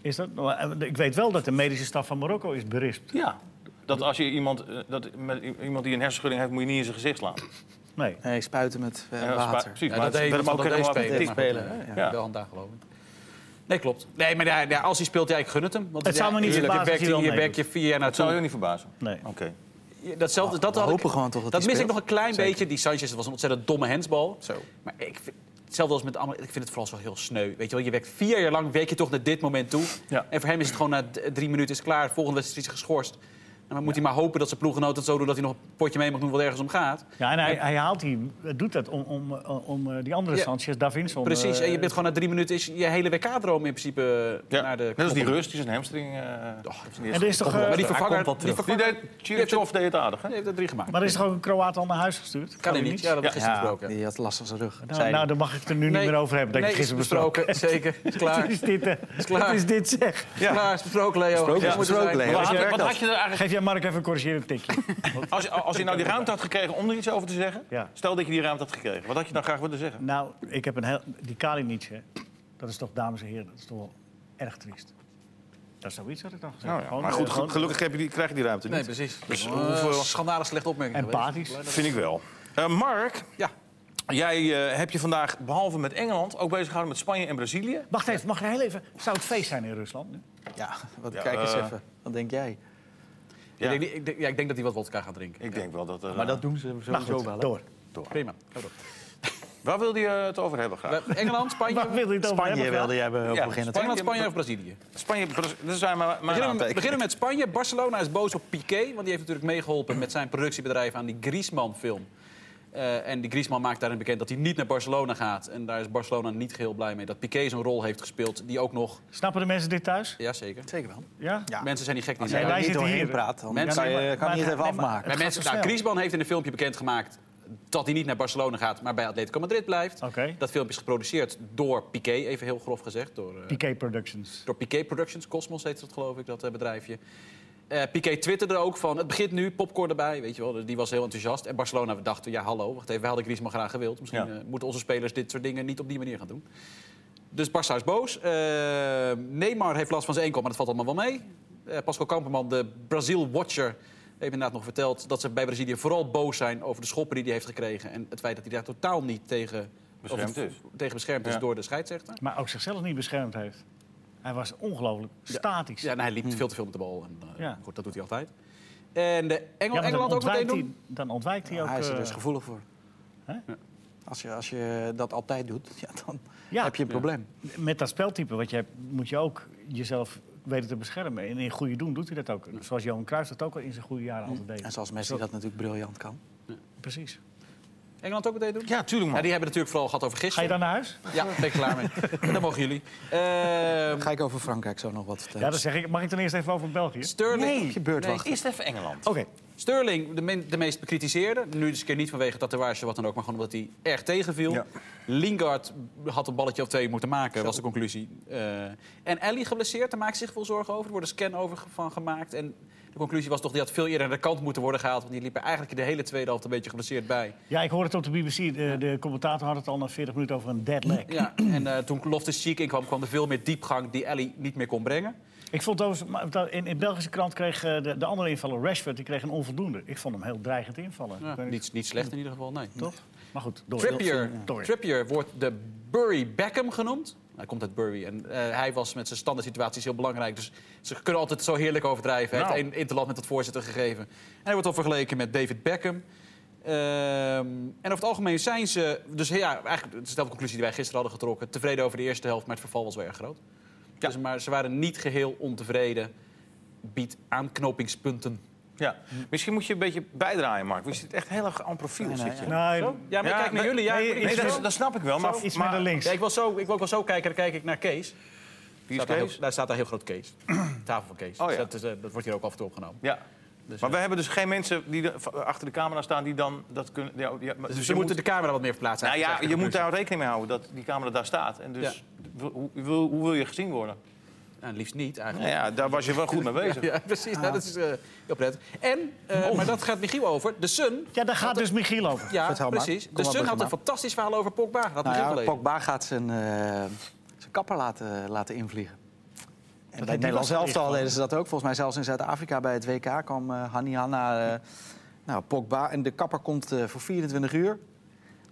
Speaker 2: Is dat, nou, eh, ik weet wel dat de medische staf van Marokko is berispt.
Speaker 1: Ja. Dat als je iemand, eh, dat, met i- iemand die een hersenschudding heeft, moet je niet in zijn gezicht slaan.
Speaker 2: Nee.
Speaker 6: Nee, spuiten met eh,
Speaker 1: Ja, spa-
Speaker 6: water.
Speaker 1: Precies,
Speaker 3: Ja,
Speaker 1: maar
Speaker 3: dat
Speaker 1: dat
Speaker 3: deed
Speaker 1: werd hem
Speaker 3: dat
Speaker 1: ook
Speaker 3: deed
Speaker 1: helemaal
Speaker 3: spelen,
Speaker 1: tik
Speaker 3: maar goed,
Speaker 1: spelen.
Speaker 3: eh,
Speaker 1: hè?
Speaker 3: Wel hand aan, geloof ik. Nee, klopt. Nee, maar ja, ja, als hij speelt, ja, ik gun het hem. Want
Speaker 2: Het zou me niet
Speaker 3: je
Speaker 2: verbazen
Speaker 3: werkt
Speaker 2: als hij
Speaker 3: hier,
Speaker 2: wel
Speaker 3: je werkt je vier jaar
Speaker 1: Dat zou je ook
Speaker 3: naartoe.
Speaker 1: niet verbazen.
Speaker 2: Nee.
Speaker 1: Oké.
Speaker 3: Ja, Datzelfde, dat
Speaker 6: We
Speaker 3: had ik,
Speaker 6: hopen gewoon toch dat
Speaker 3: dat
Speaker 6: hij
Speaker 3: mis ik nog
Speaker 6: speelt.
Speaker 3: een klein beetje. Die Sanchez dat was een ontzettend domme hensbal. Maar ik vind, hetzelfde als met allemaal. Ik vind het vooral zo heel sneu. Weet je wel, je werkt vier jaar lang, werk je toch naar dit moment toe.
Speaker 1: Ja.
Speaker 3: En voor hem is het gewoon na d- drie minuten is het klaar. Volgende wedstrijd is hij geschorst. En dan moet hij maar hopen dat zijn ploeggenoot het zo doet dat hij nog een potje mee mag doen wat ergens om gaat.
Speaker 2: Ja, en hij, hij haalt die, doet dat om, om, eh, om eh, die andere
Speaker 3: Ja.
Speaker 2: Sanchez, Davinson.
Speaker 3: Precies.
Speaker 2: eh,
Speaker 3: En je bent gewoon na drie minuten is je hele WK-droom in principe eh,
Speaker 1: Ja.
Speaker 3: naar de.
Speaker 1: Net als die
Speaker 3: koppen.
Speaker 1: rust, die is een hamstring. eh,
Speaker 2: En er is toch, eh,
Speaker 3: Maar die
Speaker 1: Hij komt
Speaker 3: vervanger,
Speaker 1: wel
Speaker 3: die
Speaker 1: terug. Die
Speaker 3: vervanger
Speaker 1: deed, Chirchov deed het aardig, hè?
Speaker 3: die heeft er drie gemaakt.
Speaker 2: maar er is toch ook een Kroaat al naar huis gestuurd?
Speaker 3: kan hij niet. Ja, dat
Speaker 1: Ja.
Speaker 3: is gisteren besproken.
Speaker 6: Die had last van zijn rug.
Speaker 2: Nou,
Speaker 6: zei
Speaker 2: nou,
Speaker 6: hij.
Speaker 2: daar mag ik het er nu niet meer over hebben. Dat
Speaker 3: nee,
Speaker 2: je gisteren
Speaker 3: is
Speaker 2: besproken.
Speaker 3: Zeker, is klaar.
Speaker 2: Is dit, eh,
Speaker 3: klaar.
Speaker 2: wat is dit zeg?
Speaker 1: Ja.
Speaker 3: Klaar, is besproken, Leo. Dit
Speaker 1: ja,
Speaker 3: moet er
Speaker 6: besproken,
Speaker 3: zijn.
Speaker 6: Leo.
Speaker 1: Wat
Speaker 6: Wat
Speaker 1: had,
Speaker 6: werkt
Speaker 1: wat
Speaker 6: dat?
Speaker 1: had je er eigenlijk...
Speaker 2: Geef jij Mark even een corrigerend tikje.
Speaker 1: Als, je- als je nou die ruimte had gekregen om er iets over te zeggen...
Speaker 2: Ja.
Speaker 1: stel dat je die ruimte had gekregen, wat had je dan graag willen zeggen?
Speaker 2: nou, ik heb een heel... Die Kalinic, hè, dat is toch, dames en heren, dat is toch wel erg triest. Dat is zoiets had ik dan gezegd.
Speaker 1: Nou ja,
Speaker 2: Gewoon,
Speaker 1: maar
Speaker 2: eh,
Speaker 1: goed,
Speaker 2: gewoon
Speaker 1: ge- gelukkig heb je die, krijg je die ruimte
Speaker 3: Nee,
Speaker 1: niet.
Speaker 3: precies.
Speaker 1: Dus
Speaker 3: Dus
Speaker 1: hoeveel-
Speaker 3: schandalig slechte opmerking.
Speaker 2: Empathisch.
Speaker 3: geweest.
Speaker 1: Vind ik wel. Eh, Mark,
Speaker 3: Ja.
Speaker 1: jij eh, hebt je vandaag behalve met Engeland... ook bezig gehouden met Spanje en Brazilië.
Speaker 2: Wacht even, mag ik heel even... Zou het feest zijn in Rusland nu?
Speaker 6: Ja, wat,
Speaker 1: Ja,
Speaker 6: kijk eens
Speaker 1: eh,
Speaker 6: even. Wat denk jij?
Speaker 1: Ja.
Speaker 3: Ik, denk, ik denk- ja, ik denk dat hij wat wodka gaat drinken.
Speaker 1: Ik denk wel dat... er,
Speaker 6: Maar
Speaker 1: eh,
Speaker 6: dat doen ze
Speaker 2: Maar
Speaker 6: sowieso
Speaker 2: goed,
Speaker 6: wel. hè?
Speaker 2: door.
Speaker 3: Prima. Ga door.
Speaker 1: Waar wilde je het over hebben graag?
Speaker 3: Bij Engeland,
Speaker 2: Waar
Speaker 3: Spanje.
Speaker 2: wil je het over
Speaker 6: Spanje
Speaker 2: hebben?
Speaker 6: wilde jij hebben
Speaker 1: Ja,
Speaker 6: op beginnen. toch?
Speaker 3: Engeland, Spanje of Brazilië?
Speaker 1: Spanje, Brazilië, dat zijn maar, maar
Speaker 3: Beginnen we, beginnen we met Spanje. Barcelona is boos op Piqué, want die heeft natuurlijk meegeholpen met zijn productiebedrijf aan die Griezmann-film. Eh, en die Griezmann maakt daarin bekend dat hij niet naar Barcelona gaat. En daar is Barcelona niet geheel blij mee. Dat Piqué zo'n rol heeft gespeeld, die ook nog...
Speaker 2: Snappen de mensen dit thuis?
Speaker 3: Jazeker.
Speaker 6: Zeker wel.
Speaker 2: Ja? Ah,
Speaker 6: Ja.
Speaker 3: Mensen zijn niet gek, die
Speaker 6: Als jij
Speaker 2: wij
Speaker 6: er niet
Speaker 2: zitten
Speaker 6: doorheen
Speaker 2: hier.
Speaker 6: praat, dan
Speaker 3: Mensen-
Speaker 6: kan je,
Speaker 2: maar-
Speaker 6: kan je het
Speaker 2: maar-
Speaker 6: even
Speaker 2: nee, maar-
Speaker 6: afmaken.
Speaker 2: Het
Speaker 3: Bij
Speaker 2: gaat
Speaker 3: mensen,
Speaker 2: zo
Speaker 3: nou,
Speaker 2: snel.
Speaker 3: Griezmann heeft in een filmpje bekendgemaakt dat hij niet naar Barcelona gaat, maar bij Atletico Madrid blijft.
Speaker 2: Oké.
Speaker 3: Dat filmpje is geproduceerd door Piqué, even heel grof gezegd. Door, eh,
Speaker 2: Piqué Productions.
Speaker 3: door Piqué Productions, Cosmos heet dat geloof ik, dat eh, bedrijfje. Eh Piqué twitterde ook van, het begint nu, popcorn erbij, weet je wel. Dus Die was heel enthousiast. En Barcelona dacht, ja hallo, wacht even, we hadden Griezmann graag gewild. Misschien
Speaker 1: Ja.
Speaker 3: eh, moeten onze spelers dit soort dingen niet op die manier gaan doen. Dus Barça is boos. Eh, Neymar heeft last van zijn enkel, maar dat valt allemaal wel mee. Eh, Pascal Kamperman, de Brazil-watcher, heeft inderdaad nog verteld... dat ze bij Brazilië vooral boos zijn over de schoppen die hij heeft gekregen... en het feit dat hij daar totaal niet tegen
Speaker 1: Beschermd
Speaker 3: of-
Speaker 1: is.
Speaker 3: Tegen beschermd is
Speaker 1: Ja.
Speaker 3: door de scheidsrechter.
Speaker 2: Maar ook zichzelf niet beschermd heeft. Hij was ongelooflijk statisch.
Speaker 3: Ja, nee, hij liep veel te veel met de bal. En, eh,
Speaker 2: Ja.
Speaker 3: Goed, dat doet hij altijd. En de Engel,
Speaker 2: Ja, maar
Speaker 3: Engeland ook meteen
Speaker 2: ontwijkt
Speaker 3: doen?
Speaker 2: hij- Dan ontwijkt hij ook...
Speaker 6: Hij is er
Speaker 2: eh,
Speaker 6: dus gevoelig voor.
Speaker 2: Hè?
Speaker 6: Als je, als je dat altijd doet, ja, dan
Speaker 2: Ja.
Speaker 6: heb je een probleem.
Speaker 2: Met dat speltype wat je hebt, moet je ook jezelf weten te beschermen. En in goede doen doet hij dat ook. Zoals Johan Cruijff dat ook al in zijn goede jaren altijd deed.
Speaker 6: En zoals Messi dat natuurlijk briljant kan.
Speaker 2: Precies.
Speaker 3: Engeland ook meteen doen?
Speaker 1: Ja, tuurlijk
Speaker 3: Ja,
Speaker 1: man.
Speaker 3: die hebben natuurlijk vooral gehad over
Speaker 2: Ga je
Speaker 3: gisteren.
Speaker 2: dan naar huis?
Speaker 3: Ja, ben ik klaar mee. En dan mogen jullie. Ehm,
Speaker 6: Ga ik over Frankrijk zo nog wat vertellen?
Speaker 2: Ja, dat zeg ik. Mag ik dan eerst even over België? Oké.
Speaker 3: Sterling,
Speaker 6: Op je beurt wachten.
Speaker 1: Eerst even Engeland.
Speaker 3: Sterling, de, men- de meest bekritiseerde. Nu eens een keer niet vanwege tatoeage, wat dan ook, maar gewoon omdat hij erg tegenviel.
Speaker 1: Ja.
Speaker 3: Lingard had een balletje of twee moeten maken, was de conclusie. Eh, en Ellie geblesseerd, daar maakt zich veel zorgen over. Er wordt een scan over ge- van gemaakt. En de conclusie was toch, die had veel eerder aan de kant moeten worden gehaald. Want die liep er eigenlijk de hele tweede helft een beetje geblesseerd bij.
Speaker 2: Ja, ik hoorde het op de BBC. De, de commentator had het al na 40 minuten over een dead leg.
Speaker 3: Ja, en eh, toen Loftus Cheek inkwam, kwam er veel meer diepgang die Ellie niet meer kon brengen.
Speaker 2: Ik vond overigens, maar dat- in, in Belgische krant kreeg eh, de, de andere invaller, Rashford, die kreeg een onvoldoende. Ik vond hem heel dreigend invallen. Ik
Speaker 3: Ja,
Speaker 2: weet niet-
Speaker 3: niet, niet slecht in ieder geval, nee.
Speaker 2: Toch? Maar goed, door.
Speaker 3: Trippier,
Speaker 2: Door.
Speaker 3: Trippier wordt de Bury Beckham genoemd. Hij komt uit Bury en eh, hij was met zijn standaard situaties heel belangrijk. Dus ze kunnen altijd zo heerlijk overdrijven. Hij
Speaker 1: Nou.
Speaker 3: heeft één interland met dat voorzitter gegeven. En hij wordt dan vergeleken met David Beckham. Ehm, en over het algemeen zijn ze... Dus ja, eigenlijk dezelfde conclusie die wij gisteren hadden getrokken. Tevreden over de eerste helft, maar het verval was wel erg groot. Dus, maar ze waren niet geheel ontevreden. Biedt aanknopingspunten.
Speaker 1: Ja. Hm. Misschien moet je een beetje bijdraaien, Mark. Want je zit echt heel erg aan profiel. zit je. Nou,
Speaker 2: Nee,
Speaker 3: Ja, maar ik
Speaker 1: Ja,
Speaker 3: kijk naar
Speaker 1: nee,
Speaker 3: jullie. Ja,
Speaker 2: nee,
Speaker 3: ik-
Speaker 1: Nee,
Speaker 2: iets
Speaker 1: dat,
Speaker 2: meer-
Speaker 1: dat snap ik wel. Maar,
Speaker 2: iets
Speaker 1: maar,
Speaker 2: meer naar links.
Speaker 3: Ja, ik, wil zo, ik wil ook wel zo kijken, dan kijk ik naar Kees.
Speaker 1: Wie is
Speaker 3: Staat daar
Speaker 1: Kees?
Speaker 3: heel- Daar staat daar heel groot Kees. Tafel van Kees.
Speaker 1: Oh,
Speaker 3: Dus
Speaker 1: ja.
Speaker 3: dat, is, eh, dat wordt hier ook af en toe opgenomen.
Speaker 1: Ja. maar we hebben dus geen mensen die er- v- achter de camera staan die dan dat kunnen. Ja, ja, maar-
Speaker 3: Dus,
Speaker 1: dus
Speaker 3: ze
Speaker 1: je
Speaker 3: moeten
Speaker 1: moet-
Speaker 3: de camera wat meer verplaatsen.
Speaker 1: nou ja,
Speaker 3: eigenlijk,
Speaker 1: je moet
Speaker 3: zegt
Speaker 1: daar rekening mee houden dat die camera daar staat. En dus w- hoe, wil- hoe wil je gezien worden?
Speaker 3: de producer. Nou, liefst niet
Speaker 1: Nou
Speaker 3: eigenlijk.
Speaker 1: ja, daar was je wel goed mee bezig.
Speaker 3: Ja, precies. Nou, dat is eh, heel prettig. En, eh, maar dat gaat Michiel over. De Sun.
Speaker 2: Ja, daar gaat dus Michiel over.
Speaker 3: Ja,
Speaker 6: Vertel maar.
Speaker 3: precies.
Speaker 6: Kom
Speaker 3: De
Speaker 6: maar,
Speaker 3: Sun
Speaker 6: begin
Speaker 3: had een
Speaker 6: maar.
Speaker 3: fantastisch verhaal over Pogba. Dat had
Speaker 6: Nou
Speaker 3: Michiel
Speaker 6: ja,
Speaker 3: gelezen.
Speaker 6: Pogba gaat zijn, eh, zijn kapper laten, laten invliegen. En bij het Nederlands
Speaker 2: was
Speaker 6: elftal
Speaker 2: echt
Speaker 6: deden ze dat ook. Volgens mij zelfs in Zuid-Afrika bij het WK kwam eh Hani Hanna... eh, nou, Pogba. En de kapper komt eh, voor 24 uur.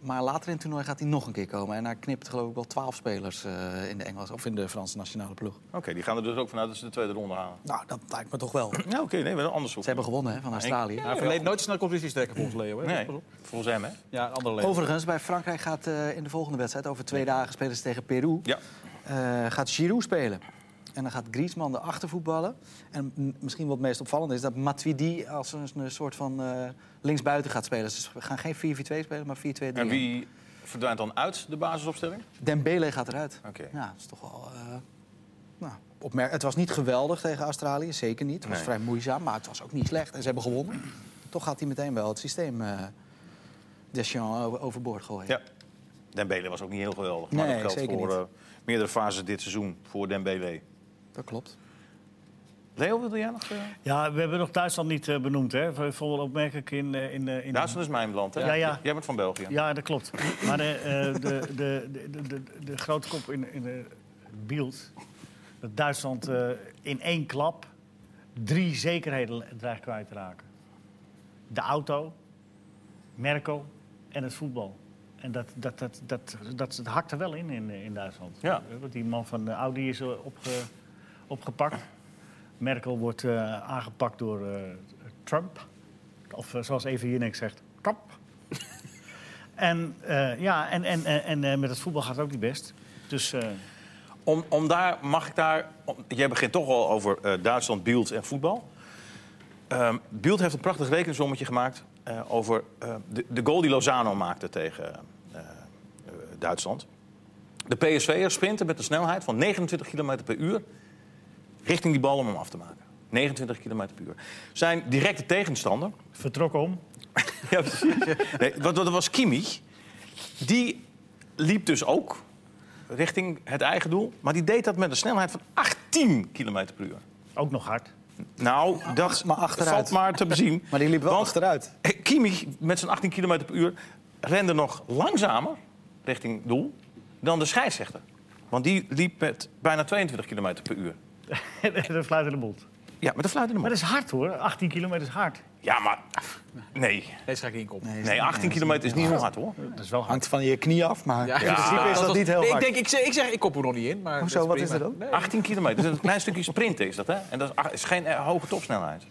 Speaker 6: Maar later in het toernooi gaat hij nog een keer komen. En hij knipt geloof ik wel twaalf spelers eh, in de Engelse of in de Franse nationale ploeg.
Speaker 1: Oké, die gaan er dus ook vanuit dat ze de tweede ronde halen.
Speaker 6: Nou, dat lijkt me toch wel. Ze
Speaker 1: Ja, oké, nee, we hebben anders zoeken.
Speaker 6: hebben gewonnen hè, van Australië.
Speaker 3: Hij verleed nooit snel competitiestrekken volgens Leo. Hè?
Speaker 1: Nee,
Speaker 3: Pas op.
Speaker 1: volgens hem, hè?
Speaker 3: Ja, een andere Leo.
Speaker 6: Overigens, bij Frankrijk gaat eh, in de volgende wedstrijd, over twee dagen spelen ze tegen Peru,
Speaker 1: Ja.
Speaker 6: eh, gaat Giroud spelen. En dan gaat Griezmann erachter voetballen. En m- misschien wat het meest opvallende is dat Matuidi als een, een soort van eh, linksbuiten gaat spelen. Ze gaan geen 4-4-2 spelen, maar 4-2-3.
Speaker 1: En wie verdwijnt dan uit de basisopstelling?
Speaker 6: Dembele gaat eruit.
Speaker 1: Oké.
Speaker 6: Ja, dat is toch wel... eh, nou, opmerk- het was niet geweldig tegen Australië, zeker niet. Het was
Speaker 1: Nee.
Speaker 6: vrij moeizaam, maar het was ook niet slecht. En ze hebben gewonnen. Toch gaat hij meteen wel het systeem eh Deschamps over- overboord gooien.
Speaker 1: Ja. Dembele was ook niet heel geweldig. Maar
Speaker 6: Nee,
Speaker 1: dat geldt
Speaker 6: zeker
Speaker 1: voor
Speaker 6: niet.
Speaker 1: eh, meerdere fases dit seizoen voor Dembele.
Speaker 6: Dat klopt.
Speaker 1: Leo, wilde jij nog? eh,
Speaker 2: Ja, we hebben nog Duitsland niet eh, benoemd, hè? Bijvoorbeeld opmerkelijk in... eh, in, eh, in
Speaker 1: Duitsland is mijn land, hè?
Speaker 2: Ja, ja.
Speaker 1: Jij bent van België.
Speaker 2: Ja, dat klopt. Maar de, eh, de, de, de, de, de, de grote kop in, in eh, Bielt... dat Duitsland eh, in één klap drie zekerheden le- dreigt kwijt te raken. De auto, Merkel en het voetbal. En dat, dat, dat, dat, dat, dat hakt er wel in in, eh, in Duitsland.
Speaker 1: Ja.
Speaker 2: Eh, Want die man van eh, Audi is eh, opge, opgepakt. Merkel wordt eh, aangepakt door eh, Trump. Of eh, zoals even hier niks zegt, Trump. en eh, ja, en, en, en, en, eh, met het voetbal gaat het ook niet best. Dus eh,
Speaker 1: Om, om daar, mag ik daar... om- jij begint toch al over eh, Duitsland, Bielt en voetbal. Ehm Bielt heeft een prachtig rekensommetje gemaakt... eh, over eh, de, de goal die Lozano maakte tegen eh, eh, Duitsland. De PSV'er sprinten met een snelheid van 29 km per uur... richting die bal om hem af te maken. 29 km per uur. Zijn directe tegenstander...
Speaker 2: vertrok om.
Speaker 1: Ja, precies. Nee, want dat was Kimmich. Die liep dus ook richting het eigen doel. Maar die deed dat met een snelheid van 18 km per uur.
Speaker 2: Ook nog hard.
Speaker 1: Nou, dat
Speaker 6: maar achteruit.
Speaker 1: valt maar te bezien.
Speaker 6: Maar die liep wel
Speaker 1: Want
Speaker 6: achteruit.
Speaker 1: Kimmich met zijn 18 km per uur rende nog langzamer richting doel dan de scheidsrechter. Want die liep met bijna 22 km per uur.
Speaker 2: de fluit in de mond.
Speaker 1: Ja, met de fluit in de
Speaker 2: Maar
Speaker 1: mond.
Speaker 2: dat is hard hoor, 18 kilometer is hard.
Speaker 1: Ja, maar... Nee,
Speaker 3: Deze ga ik niet in koppen.
Speaker 1: nee 18 km is niet heel hard, hoor.
Speaker 2: Dat is wel hard.
Speaker 6: Hangt van je knie af, maar in principe is dat
Speaker 3: was-
Speaker 6: niet heel
Speaker 3: nee,
Speaker 6: hard.
Speaker 3: Ik, denk, ik, zeg, ik zeg, ik kop er nog niet in. Maar
Speaker 6: Hoezo,
Speaker 3: dat
Speaker 6: wat is
Speaker 3: prima.
Speaker 6: dat dan?
Speaker 3: Nee.
Speaker 1: 18 kilometer. Dus een klein stukje sprinten is dat, hè? En dat is, ach- is geen eh, hoge topsnelheid.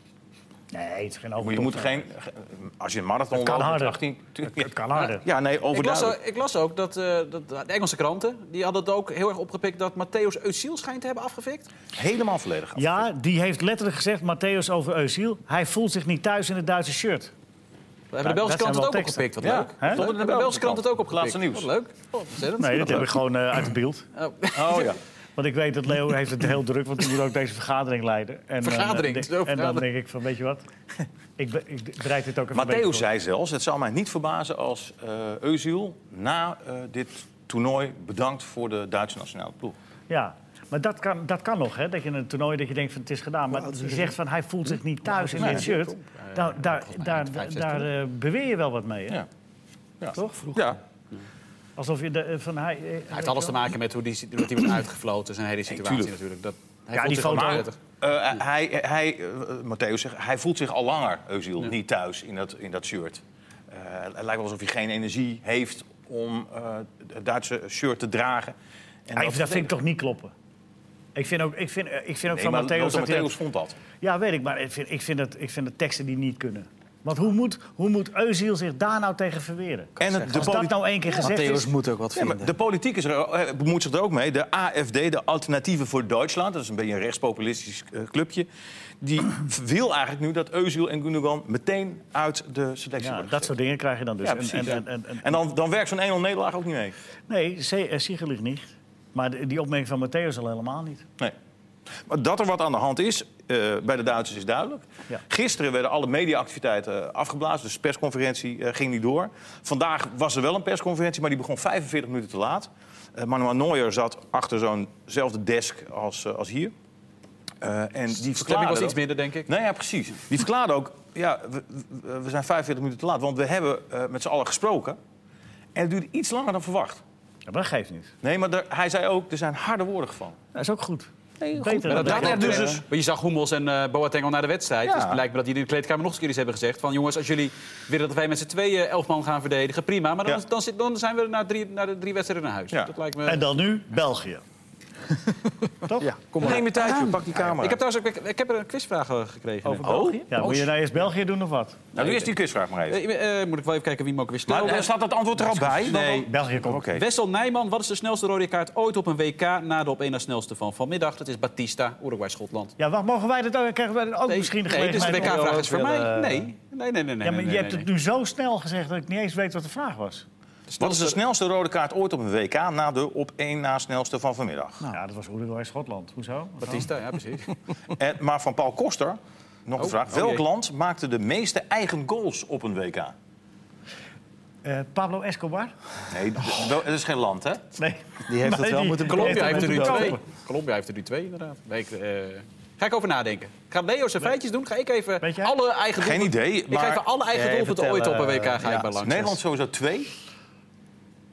Speaker 2: Nee, het is geen
Speaker 1: Maar
Speaker 2: overtocht.
Speaker 1: je moet er geen... ge- Als je een marathon
Speaker 2: Het kan
Speaker 1: loopt met
Speaker 2: harder.
Speaker 1: 18... tu-
Speaker 2: Het- het kan harder.
Speaker 1: Ja, nee,
Speaker 3: Ik las,
Speaker 1: overduidelijk.
Speaker 3: ook- ik las ook dat, eh, dat de Engelse kranten die hadden het ook heel erg opgepikt dat Matthäus Eusiel schijnt te hebben afgefikt.
Speaker 1: Helemaal volledig. af.
Speaker 2: Ja, die heeft letterlijk gezegd, Matthäus over Eusiel... hij voelt zich niet thuis in het Duitse shirt.
Speaker 3: We hebben de Belgische
Speaker 2: dat zijn
Speaker 3: krant het
Speaker 2: wel
Speaker 3: ook
Speaker 2: teksten.
Speaker 3: opgepikt. Wat
Speaker 1: Ja,
Speaker 3: leuk.
Speaker 1: hè?
Speaker 3: Hè?
Speaker 1: Stond
Speaker 3: De
Speaker 1: het in de
Speaker 3: Belgische krant het ook opgepikt.
Speaker 1: Laatste nieuws.
Speaker 3: Wat leuk. Oh, ontzettend.
Speaker 2: Nee, dat heb ik gewoon eh, uit het beeld.
Speaker 3: Oh.
Speaker 1: Oh ja.
Speaker 2: Want ik weet dat Leo heeft het heel druk, want hij moet ook deze vergadering leiden. En, dan, eh,
Speaker 3: Vergadering,
Speaker 2: de-
Speaker 3: het is ook
Speaker 2: en dan
Speaker 3: vergadering.
Speaker 2: denk ik van, weet je wat? Ik, be- ik bereid dit ook even een beetje
Speaker 1: Matteo
Speaker 2: voor.
Speaker 1: zei zelfs, het zou mij niet verbazen als eh Özil na eh, dit toernooi bedankt voor de Duitse nationale ploeg.
Speaker 2: Ja, maar dat kan, dat kan nog, hè? Dat je in een toernooi dat je denkt van het is gedaan. Maar je zegt van hij voelt zich niet thuis in dit shirt. Daar, daar, daar, daar, eh, beweer je wel wat mee, hè?
Speaker 1: Ja. Ja.
Speaker 2: Toch?
Speaker 1: Ja,
Speaker 2: Alsof je de, eh, van hij... eh,
Speaker 3: Hij heeft alles te maken met hoe die, hoe die wordt uitgefloten. Zijn hele situatie
Speaker 1: tuurlijk.
Speaker 3: natuurlijk. Dat, hij
Speaker 2: Ja,
Speaker 3: voelt
Speaker 2: die
Speaker 3: zich wel
Speaker 2: foto-
Speaker 3: prettig.
Speaker 1: Eh, hij, hij, eh, Matthäus zegt, hij voelt zich al langer, Özil, niet thuis in dat, in dat shirt. Eh, het lijkt wel alsof hij geen energie heeft om eh, het Duitse shirt te dragen. En
Speaker 2: Even, Ah, dat vind ik toch niet kloppen. Ik vind ook, ik vind, eh, ik vind ook
Speaker 1: Nee,
Speaker 2: van eh,
Speaker 1: maar
Speaker 2: Matthäus...
Speaker 1: Lothar
Speaker 2: dat hij
Speaker 1: Matthäus
Speaker 2: dat-
Speaker 1: vond dat.
Speaker 2: Ja, weet ik, maar ik vind, ik, vind dat, ik vind dat teksten die niet kunnen. Want hoe moet, hoe moet Eusiel zich daar nou tegen verweren?
Speaker 1: En het- de
Speaker 2: Als dat
Speaker 1: poli-
Speaker 2: nou één keer gezegd
Speaker 6: Matthäus
Speaker 2: is...
Speaker 6: moet ook wat
Speaker 1: Ja,
Speaker 6: vinden.
Speaker 1: maar de politiek is er, eh, bemoeit zich er ook mee. De AFD, de Alternatieven voor Duitsland, dat is een beetje een rechtspopulistisch eh, clubje... die wil eigenlijk nu dat Özil en Gundogan meteen uit de selectie
Speaker 2: Ja,
Speaker 1: worden
Speaker 2: dat soort dingen krijg je dan dus.
Speaker 1: Ja,
Speaker 2: En-
Speaker 1: precies,
Speaker 2: en, en, en,
Speaker 1: En dan, dan werkt zo'n 1-0 nederlaag ook niet mee.
Speaker 2: Nee, ze- eh, Siegelig niet. Maar de- die opmerking van Matthäus al helemaal niet.
Speaker 1: Nee. Maar dat er wat aan de hand is eh, bij de Duitsers is duidelijk.
Speaker 2: Ja.
Speaker 1: Gisteren werden alle mediaactiviteiten eh, afgeblazen. Dus de persconferentie eh, ging niet door. Vandaag was er wel een persconferentie, maar die begon 45 minuten te laat. Eh, Manuel Neuer zat achter zo'nzelfde desk als, eh, als hier. Eh, en die
Speaker 3: Stemming
Speaker 1: verklaarde...
Speaker 3: was iets
Speaker 1: dat-
Speaker 3: minder, denk ik.
Speaker 1: Nee, ja, precies. Die verklaarde ook, ja, we, we- we zijn 45 minuten te laat. Want we hebben eh, met z'n allen gesproken. En het duurde iets langer dan verwacht.
Speaker 2: Ja, maar dat geeft niet.
Speaker 1: Nee, maar er- hij zei ook, er zijn harde woorden gevallen.
Speaker 2: Dat is ook goed.
Speaker 6: Nee, goed.
Speaker 2: Beter dan
Speaker 3: dat
Speaker 2: dat.
Speaker 3: klopt.
Speaker 6: dus
Speaker 3: Eh,
Speaker 6: dus-
Speaker 3: maar je zag Hummels en eh Boateng al naar de wedstrijd.
Speaker 1: Ja.
Speaker 3: Dus het lijkt me dat die in de kleedkamer nog eens keer iets hebben gezegd. Van jongens, als jullie willen dat wij met z'n tweeën eh, elf man gaan verdedigen, prima. Maar dan,
Speaker 1: Ja.
Speaker 3: dan, zit- dan zijn we naar, drie, naar de drie wedstrijden naar huis.
Speaker 1: Ja.
Speaker 3: Dat lijkt me...
Speaker 7: En dan nu België.
Speaker 6: Ja, kom maar.
Speaker 1: Neem je tijd, joh. pak die camera.
Speaker 3: Ah, Ik heb trouwens ook- ik, ik heb er een quizvraag eh, gekregen.
Speaker 1: Over België?
Speaker 2: Ja, moet je nou eerst België doen of wat?
Speaker 1: Nou, Oh? doe eerst die quizvraag maar even.
Speaker 3: Eh, eh, eh, moet ik wel even kijken wie hem ook weer
Speaker 1: Maar
Speaker 3: stelde.
Speaker 1: eh, staat dat antwoord er al bij? Nee.
Speaker 2: België komt.
Speaker 1: Oké.
Speaker 3: Wessel Nijman, wat is de snelste rode kaart ooit op een WK na de op één na snelste van vanmiddag? Dat is Batista, Uruguay-Schotland.
Speaker 2: Ja, wacht, mogen wij dat ook? Krijgen wij dat ook
Speaker 3: Nee,
Speaker 2: misschien de
Speaker 3: nee, dus de
Speaker 2: gelegenheid? om-
Speaker 3: WK-vraag is voor
Speaker 4: wel,
Speaker 3: mij.
Speaker 4: eh,
Speaker 3: Nee, nee, nee. nee, nee,
Speaker 2: Ja, maar
Speaker 3: nee,
Speaker 2: je
Speaker 3: nee,
Speaker 2: hebt
Speaker 3: nee.
Speaker 2: het nu zo snel gezegd dat ik niet eens weet wat de vraag was.
Speaker 1: Wat is de snelste rode kaart ooit op een WK na de op één na snelste van vanmiddag?
Speaker 3: Nou.
Speaker 2: Ja, dat was Uruguay-Schotland. Hoezo?
Speaker 3: Batista, ja, precies.
Speaker 1: En, maar van Paul Koster, nog een
Speaker 3: Oh,
Speaker 1: vraag.
Speaker 3: oh
Speaker 1: Welk
Speaker 3: jee.
Speaker 1: land maakte de meeste eigen goals op een WK?
Speaker 2: Eh, Pablo Escobar?
Speaker 1: Nee, d- wel- dat is geen land, hè?
Speaker 2: Nee.
Speaker 6: Die heeft het
Speaker 2: Nee,
Speaker 6: wel
Speaker 2: die-
Speaker 6: moeten
Speaker 2: Heeft
Speaker 3: Colombia
Speaker 2: dat
Speaker 3: heeft er nu
Speaker 2: moeten
Speaker 3: twee.
Speaker 2: kopen.
Speaker 3: Colombia heeft er nu twee, inderdaad. Nee, ik, eh, ga ik over nadenken. Gaat Leo zijn feitjes doen? Ga ik even
Speaker 2: Weet jij?
Speaker 3: alle eigen
Speaker 1: Geen
Speaker 3: doelpunten-
Speaker 1: idee.
Speaker 3: Ik ga even alle eigen
Speaker 1: Nee,
Speaker 3: doelpunten ooit
Speaker 1: vertel,
Speaker 3: op een WK
Speaker 1: eh,
Speaker 3: ga ik
Speaker 1: ja.
Speaker 3: bij langs.
Speaker 1: Nederland sowieso twee.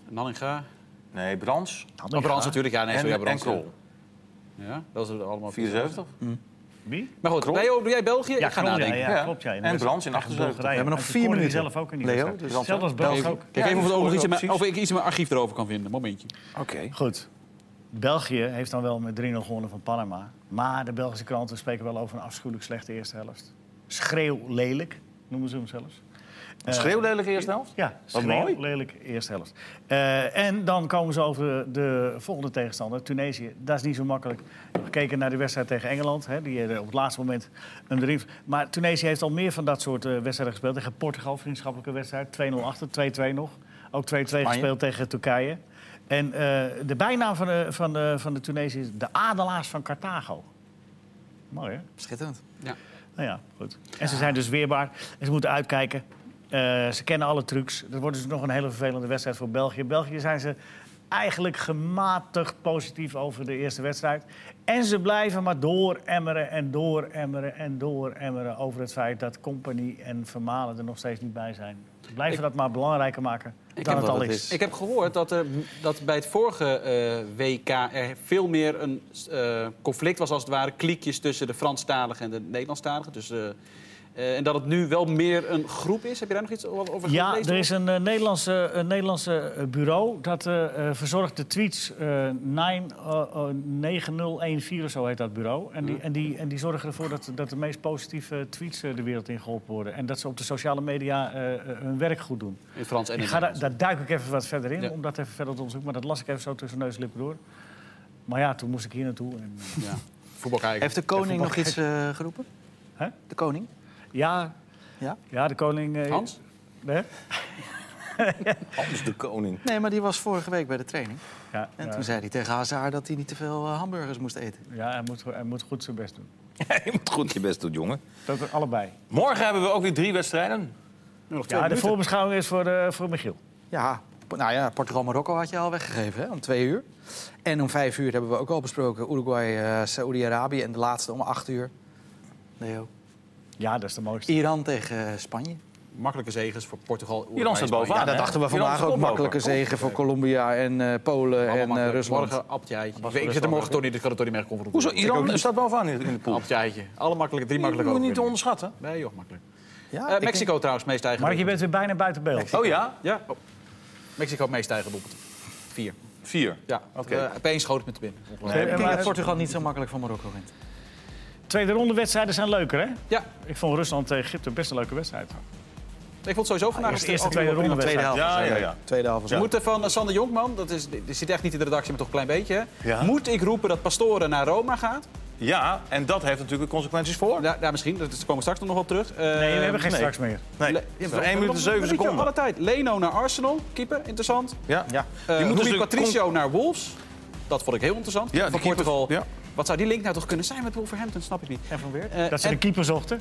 Speaker 3: Nanninga.
Speaker 1: Nee, Brans.
Speaker 3: Oh, Brands natuurlijk. Ja, nee, zo,
Speaker 1: en,
Speaker 3: ja,
Speaker 1: en
Speaker 3: Brands.
Speaker 1: Krol.
Speaker 3: Ja, dat is allemaal.
Speaker 1: 74.
Speaker 2: Wie?
Speaker 3: Maar goed,
Speaker 1: Krol?
Speaker 3: Leo, doe jij België?
Speaker 2: Ja,
Speaker 3: ik ga
Speaker 2: Colombia,
Speaker 3: nadenken.
Speaker 2: ja,
Speaker 1: Ja.
Speaker 2: klopt. Ja.
Speaker 1: En Brands in
Speaker 2: tegen
Speaker 1: 78.
Speaker 2: Bulgarije.
Speaker 6: We hebben nog
Speaker 2: En ze
Speaker 6: vier
Speaker 2: scoorden
Speaker 6: minuten.
Speaker 2: zelf ook in
Speaker 6: Leo,
Speaker 2: Dus
Speaker 6: dus
Speaker 2: Zelfs als Brands ook.
Speaker 3: Kijk even of, het ook nog
Speaker 1: Ja,
Speaker 3: iets in mijn-
Speaker 1: precies.
Speaker 3: of ik iets in mijn archief erover kan vinden. Momentje.
Speaker 1: Oké.
Speaker 2: Goed. België heeft dan wel met 3-0 gewonnen van Panama. Maar de Belgische kranten spreken wel over een afschuwelijk slechte eerste helft. Schreeuw lelijk, noemen ze hem zelfs. Eh,
Speaker 1: Schreeuwlelijke eerste helft?
Speaker 2: Ja,
Speaker 1: Wat
Speaker 2: schreeuw
Speaker 1: mooi.
Speaker 2: lelijk eerste helft. Eh, en dan komen ze over de, de volgende tegenstander, Tunesië. Dat is niet zo makkelijk. We gekeken naar de wedstrijd tegen Engeland. Hè, die eh, op het laatste moment een drief. Maar Tunesië heeft al meer van dat soort eh, wedstrijden gespeeld. Tegen Portugal, vriendschappelijke wedstrijd. 2-0 achter, 2-2 nog. Ook 2-2 gespeeld tegen Turkije. En eh, de bijnaam van de, van, de, van de Tunesië is de Adelaars van Carthago. Mooi, hè?
Speaker 6: Schitterend.
Speaker 2: Nou ja, goed. En ze zijn dus weerbaar. En ze moeten uitkijken. Eh, ze kennen alle trucs. Dat wordt dus nog een hele vervelende wedstrijd voor België. België zijn ze eigenlijk gematigd positief over de eerste wedstrijd. En ze blijven maar dooremmeren en dooremmeren en dooremmeren... over het feit dat Company en Vermalen er nog steeds niet bij zijn. Ze blijven dat maar belangrijker maken dan
Speaker 6: heb
Speaker 2: het
Speaker 6: wel
Speaker 2: al
Speaker 6: dat
Speaker 2: is.
Speaker 6: is.
Speaker 3: Ik heb gehoord dat, er, dat bij het vorige eh, WK er veel meer een eh, conflict was, als het ware, kliekjes tussen de Franstaligen en de Nederlandstaligen. Dus, eh, eh, en dat het nu wel meer een groep is. Heb je daar nog iets over over
Speaker 2: Ja,
Speaker 3: gelezen?
Speaker 2: er is een eh, Nederlandse, een Nederlandse eh, bureau dat eh, eh, verzorgt de tweets. eh 9, eh, eh, 9014 of zo heet dat bureau. En die, en die, en die zorgen ervoor dat, dat de meest positieve tweets eh, de wereld in geholpen worden. En dat ze op de sociale media eh, eh, hun werk goed doen.
Speaker 3: In het Frans en in
Speaker 2: Ik
Speaker 3: het
Speaker 2: ga daar,
Speaker 3: Nederlands.
Speaker 2: daar duik ik even wat verder in,
Speaker 3: Ja.
Speaker 2: om dat even verder te onderzoeken. Maar dat las ik even zo tussen neus en lippen door. Maar ja, toen moest ik hier naartoe. En, eh,
Speaker 3: Ja. Voetbal kijken.
Speaker 6: Heeft de koning nog iets eh, geroepen?
Speaker 2: Hè?
Speaker 6: De koning?
Speaker 2: ja,
Speaker 6: Ja?
Speaker 2: ja, de koning... eh,
Speaker 3: Hans?
Speaker 2: Hè?
Speaker 1: Anders de koning.
Speaker 6: Nee, maar die was vorige week bij de training.
Speaker 2: Ja,
Speaker 6: En
Speaker 2: ja,
Speaker 6: toen zei hij tegen Hazard dat hij niet te veel eh, hamburgers moest eten.
Speaker 2: ja hij, moet, hij moet goed zijn best doen.
Speaker 1: je moet goed je best doen, jongen.
Speaker 2: Dat allebei.
Speaker 1: Morgen hebben we ook weer drie wedstrijden.
Speaker 2: Ja, de voorbeschouwing is voor, eh, voor Michiel.
Speaker 6: Ja, po- nou ja, Portugal-Marokko had je al weggegeven hè, om twee uur. En om vijf uur hebben we ook al besproken Uruguay, eh Saoedi-Arabië. En de laatste om acht uur, Leo,
Speaker 2: Ja, dat is de mooiste.
Speaker 6: Iran tegen eh, Spanje.
Speaker 3: Makkelijke zegens voor Portugal. Uruguay,
Speaker 1: staat
Speaker 3: Spanje.
Speaker 1: bovenaan.
Speaker 6: Ja,
Speaker 1: hè?
Speaker 6: dat dachten we
Speaker 1: Iran is
Speaker 6: vandaag ook.
Speaker 1: koploper.
Speaker 6: Makkelijke zegen voor Colombia en eh, Polen
Speaker 3: Allemaal
Speaker 6: en eh,
Speaker 3: makkelijk.
Speaker 6: Rusland.
Speaker 3: Morgen Abtjai. Ik, weet- ik zit er morgen toch niet, dus ik kan er toch niet meer komen.
Speaker 1: Hoezo? Iran staat bovenaan in in de pool.
Speaker 3: Abtjaaitje. Alle makkelijke, drie
Speaker 1: Die
Speaker 3: makkelijke
Speaker 1: moet je niet
Speaker 3: overwinningen.
Speaker 1: onderschatten.
Speaker 3: Nee joh, makkelijk.
Speaker 1: Ah,
Speaker 6: Ja,
Speaker 3: Eh,
Speaker 6: ik
Speaker 3: Mexico trouwens, meest eigen
Speaker 2: Mark, je
Speaker 3: doelpunt.
Speaker 2: bent weer bijna buiten beeld.
Speaker 1: Oh ja?
Speaker 3: Ja, oh. Mexico het meest eigen doelpunt. Vier.
Speaker 1: Vier.
Speaker 3: Ja,
Speaker 1: Oké.
Speaker 3: Eh, opeens schoot het met de binnen.
Speaker 6: denk- ik
Speaker 2: Eh,
Speaker 6: denk
Speaker 2: maar-
Speaker 6: dat Portugal niet zo makkelijk van Marokko wint.
Speaker 2: Tweede ronde wedstrijden zijn leuker, hè?
Speaker 3: Ja,
Speaker 2: Ik vond Rusland tegen Egypte best een leuke wedstrijd.
Speaker 3: ik vond sowieso
Speaker 1: Ah,
Speaker 3: vandaag...
Speaker 2: Eerst
Speaker 3: een
Speaker 2: de eerste
Speaker 3: stuk-
Speaker 2: tweede ronde
Speaker 6: Tweede
Speaker 2: wedstrijd.
Speaker 6: helft.
Speaker 1: Ja,
Speaker 6: was,
Speaker 1: ja,
Speaker 6: eh,
Speaker 1: ja.
Speaker 6: Tweede helft. was-
Speaker 3: We moeten van eh, Sander Jonkman, dat is, die die zit echt niet in de redactie, maar toch een klein beetje. hè.
Speaker 1: Ja.
Speaker 3: Moet ik roepen dat Pastore naar Roma gaat?
Speaker 1: Ja, en dat heeft natuurlijk consequenties voor.
Speaker 3: Ja, ja, misschien, dat daar komen we straks nog op terug. Eh,
Speaker 2: Nee, we hebben geen straks meer.
Speaker 1: Nee, voor 1 minuut en 7
Speaker 3: Alle
Speaker 1: seconden.
Speaker 3: tijd. Leno naar Arsenal, keeper, interessant.
Speaker 1: Ja.
Speaker 6: Ja.
Speaker 3: Eh
Speaker 1: Die moet
Speaker 3: Rui
Speaker 1: dus de
Speaker 3: Patricio naar Wolves. Dat vond ik heel interessant.
Speaker 1: Ja,
Speaker 3: van
Speaker 1: de keeper,
Speaker 3: Portugal.
Speaker 1: ja.
Speaker 3: Wat zou die link nou toch kunnen zijn met Wolverhampton? Snap ik niet.
Speaker 6: En van Weert?
Speaker 3: Eh,
Speaker 2: Dat ze
Speaker 3: en-
Speaker 2: de keeper zochten.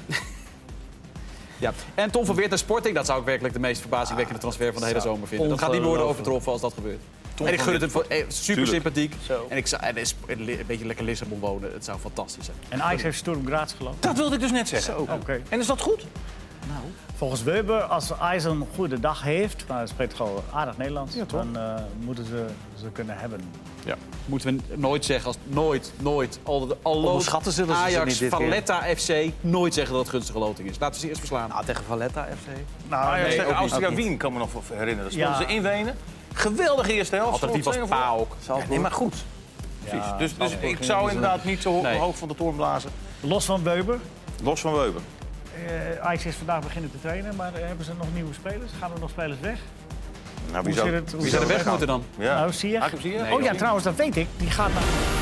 Speaker 3: Ja. En Tom van Weert naar Sporting, dat zou ik werkelijk de meest verbazingwekkende
Speaker 6: Ah,
Speaker 3: transfer van de hele zomer vinden. Dat gaat niet worden overtroffen als dat gebeurt. en ik
Speaker 1: van
Speaker 3: gun het hem voor- eh, super
Speaker 1: Tuurlijk.
Speaker 3: sympathiek. En, ik zou, en is- en li- een beetje lekker Lissabon wonen, het zou fantastisch zijn.
Speaker 2: En Ajax heeft Sturm Graz gelopen.
Speaker 1: Dat wilde ik dus net zeggen.
Speaker 2: Oké.
Speaker 1: En is dat goed?
Speaker 2: Dat
Speaker 6: Nou,
Speaker 2: Volgens Weber, als IJs een goede dag heeft, maar hij spreekt gewoon aardig Nederlands,
Speaker 1: Ja, toch?
Speaker 2: dan eh, moeten ze ze kunnen hebben.
Speaker 1: Ja.
Speaker 3: Moeten we nooit zeggen als nooit, nooit, al al
Speaker 6: Onderschatten zullen ze ze niet
Speaker 3: Ajax,
Speaker 6: dit keer.
Speaker 3: Valletta FC, nooit zeggen dat het gunstige loting is. Laten we ze eerst verslaan.
Speaker 6: nou tegen Valletta FC.
Speaker 2: Nou,
Speaker 1: Ajax
Speaker 2: nee,
Speaker 1: tegen
Speaker 2: ook niet.
Speaker 1: Austria Wien kan me nog herinneren. Dat speelden
Speaker 2: Ja.
Speaker 1: ze in Wenen. Geweldig eerste helft.
Speaker 3: Alternatief was
Speaker 1: Stond twee of-
Speaker 3: PAOK.
Speaker 1: Ja, nee, maar goed. Precies.
Speaker 2: Ja,
Speaker 1: dus dus
Speaker 2: Salzburg
Speaker 1: ik zou inderdaad niet zo ho-
Speaker 3: Nee.
Speaker 1: hoog van de toren blazen.
Speaker 2: eh, Los van Weber,
Speaker 1: Los van Weuben.
Speaker 2: eh Ajax is vandaag beginnen te trainen, maar eh, hebben ze nog nieuwe spelers? Gaan er nog spelers weg?
Speaker 1: Nou,
Speaker 2: Hoe zit het- hoe
Speaker 1: wie
Speaker 2: zit
Speaker 1: zou
Speaker 3: Ze
Speaker 2: het
Speaker 1: er
Speaker 3: weg
Speaker 1: weggaan?
Speaker 3: moeten dan.
Speaker 1: Ja.
Speaker 2: Nou, zie je.
Speaker 1: Hakim Ziyech?
Speaker 2: oh ja, trouwens, dat weet ik. Die gaat naar...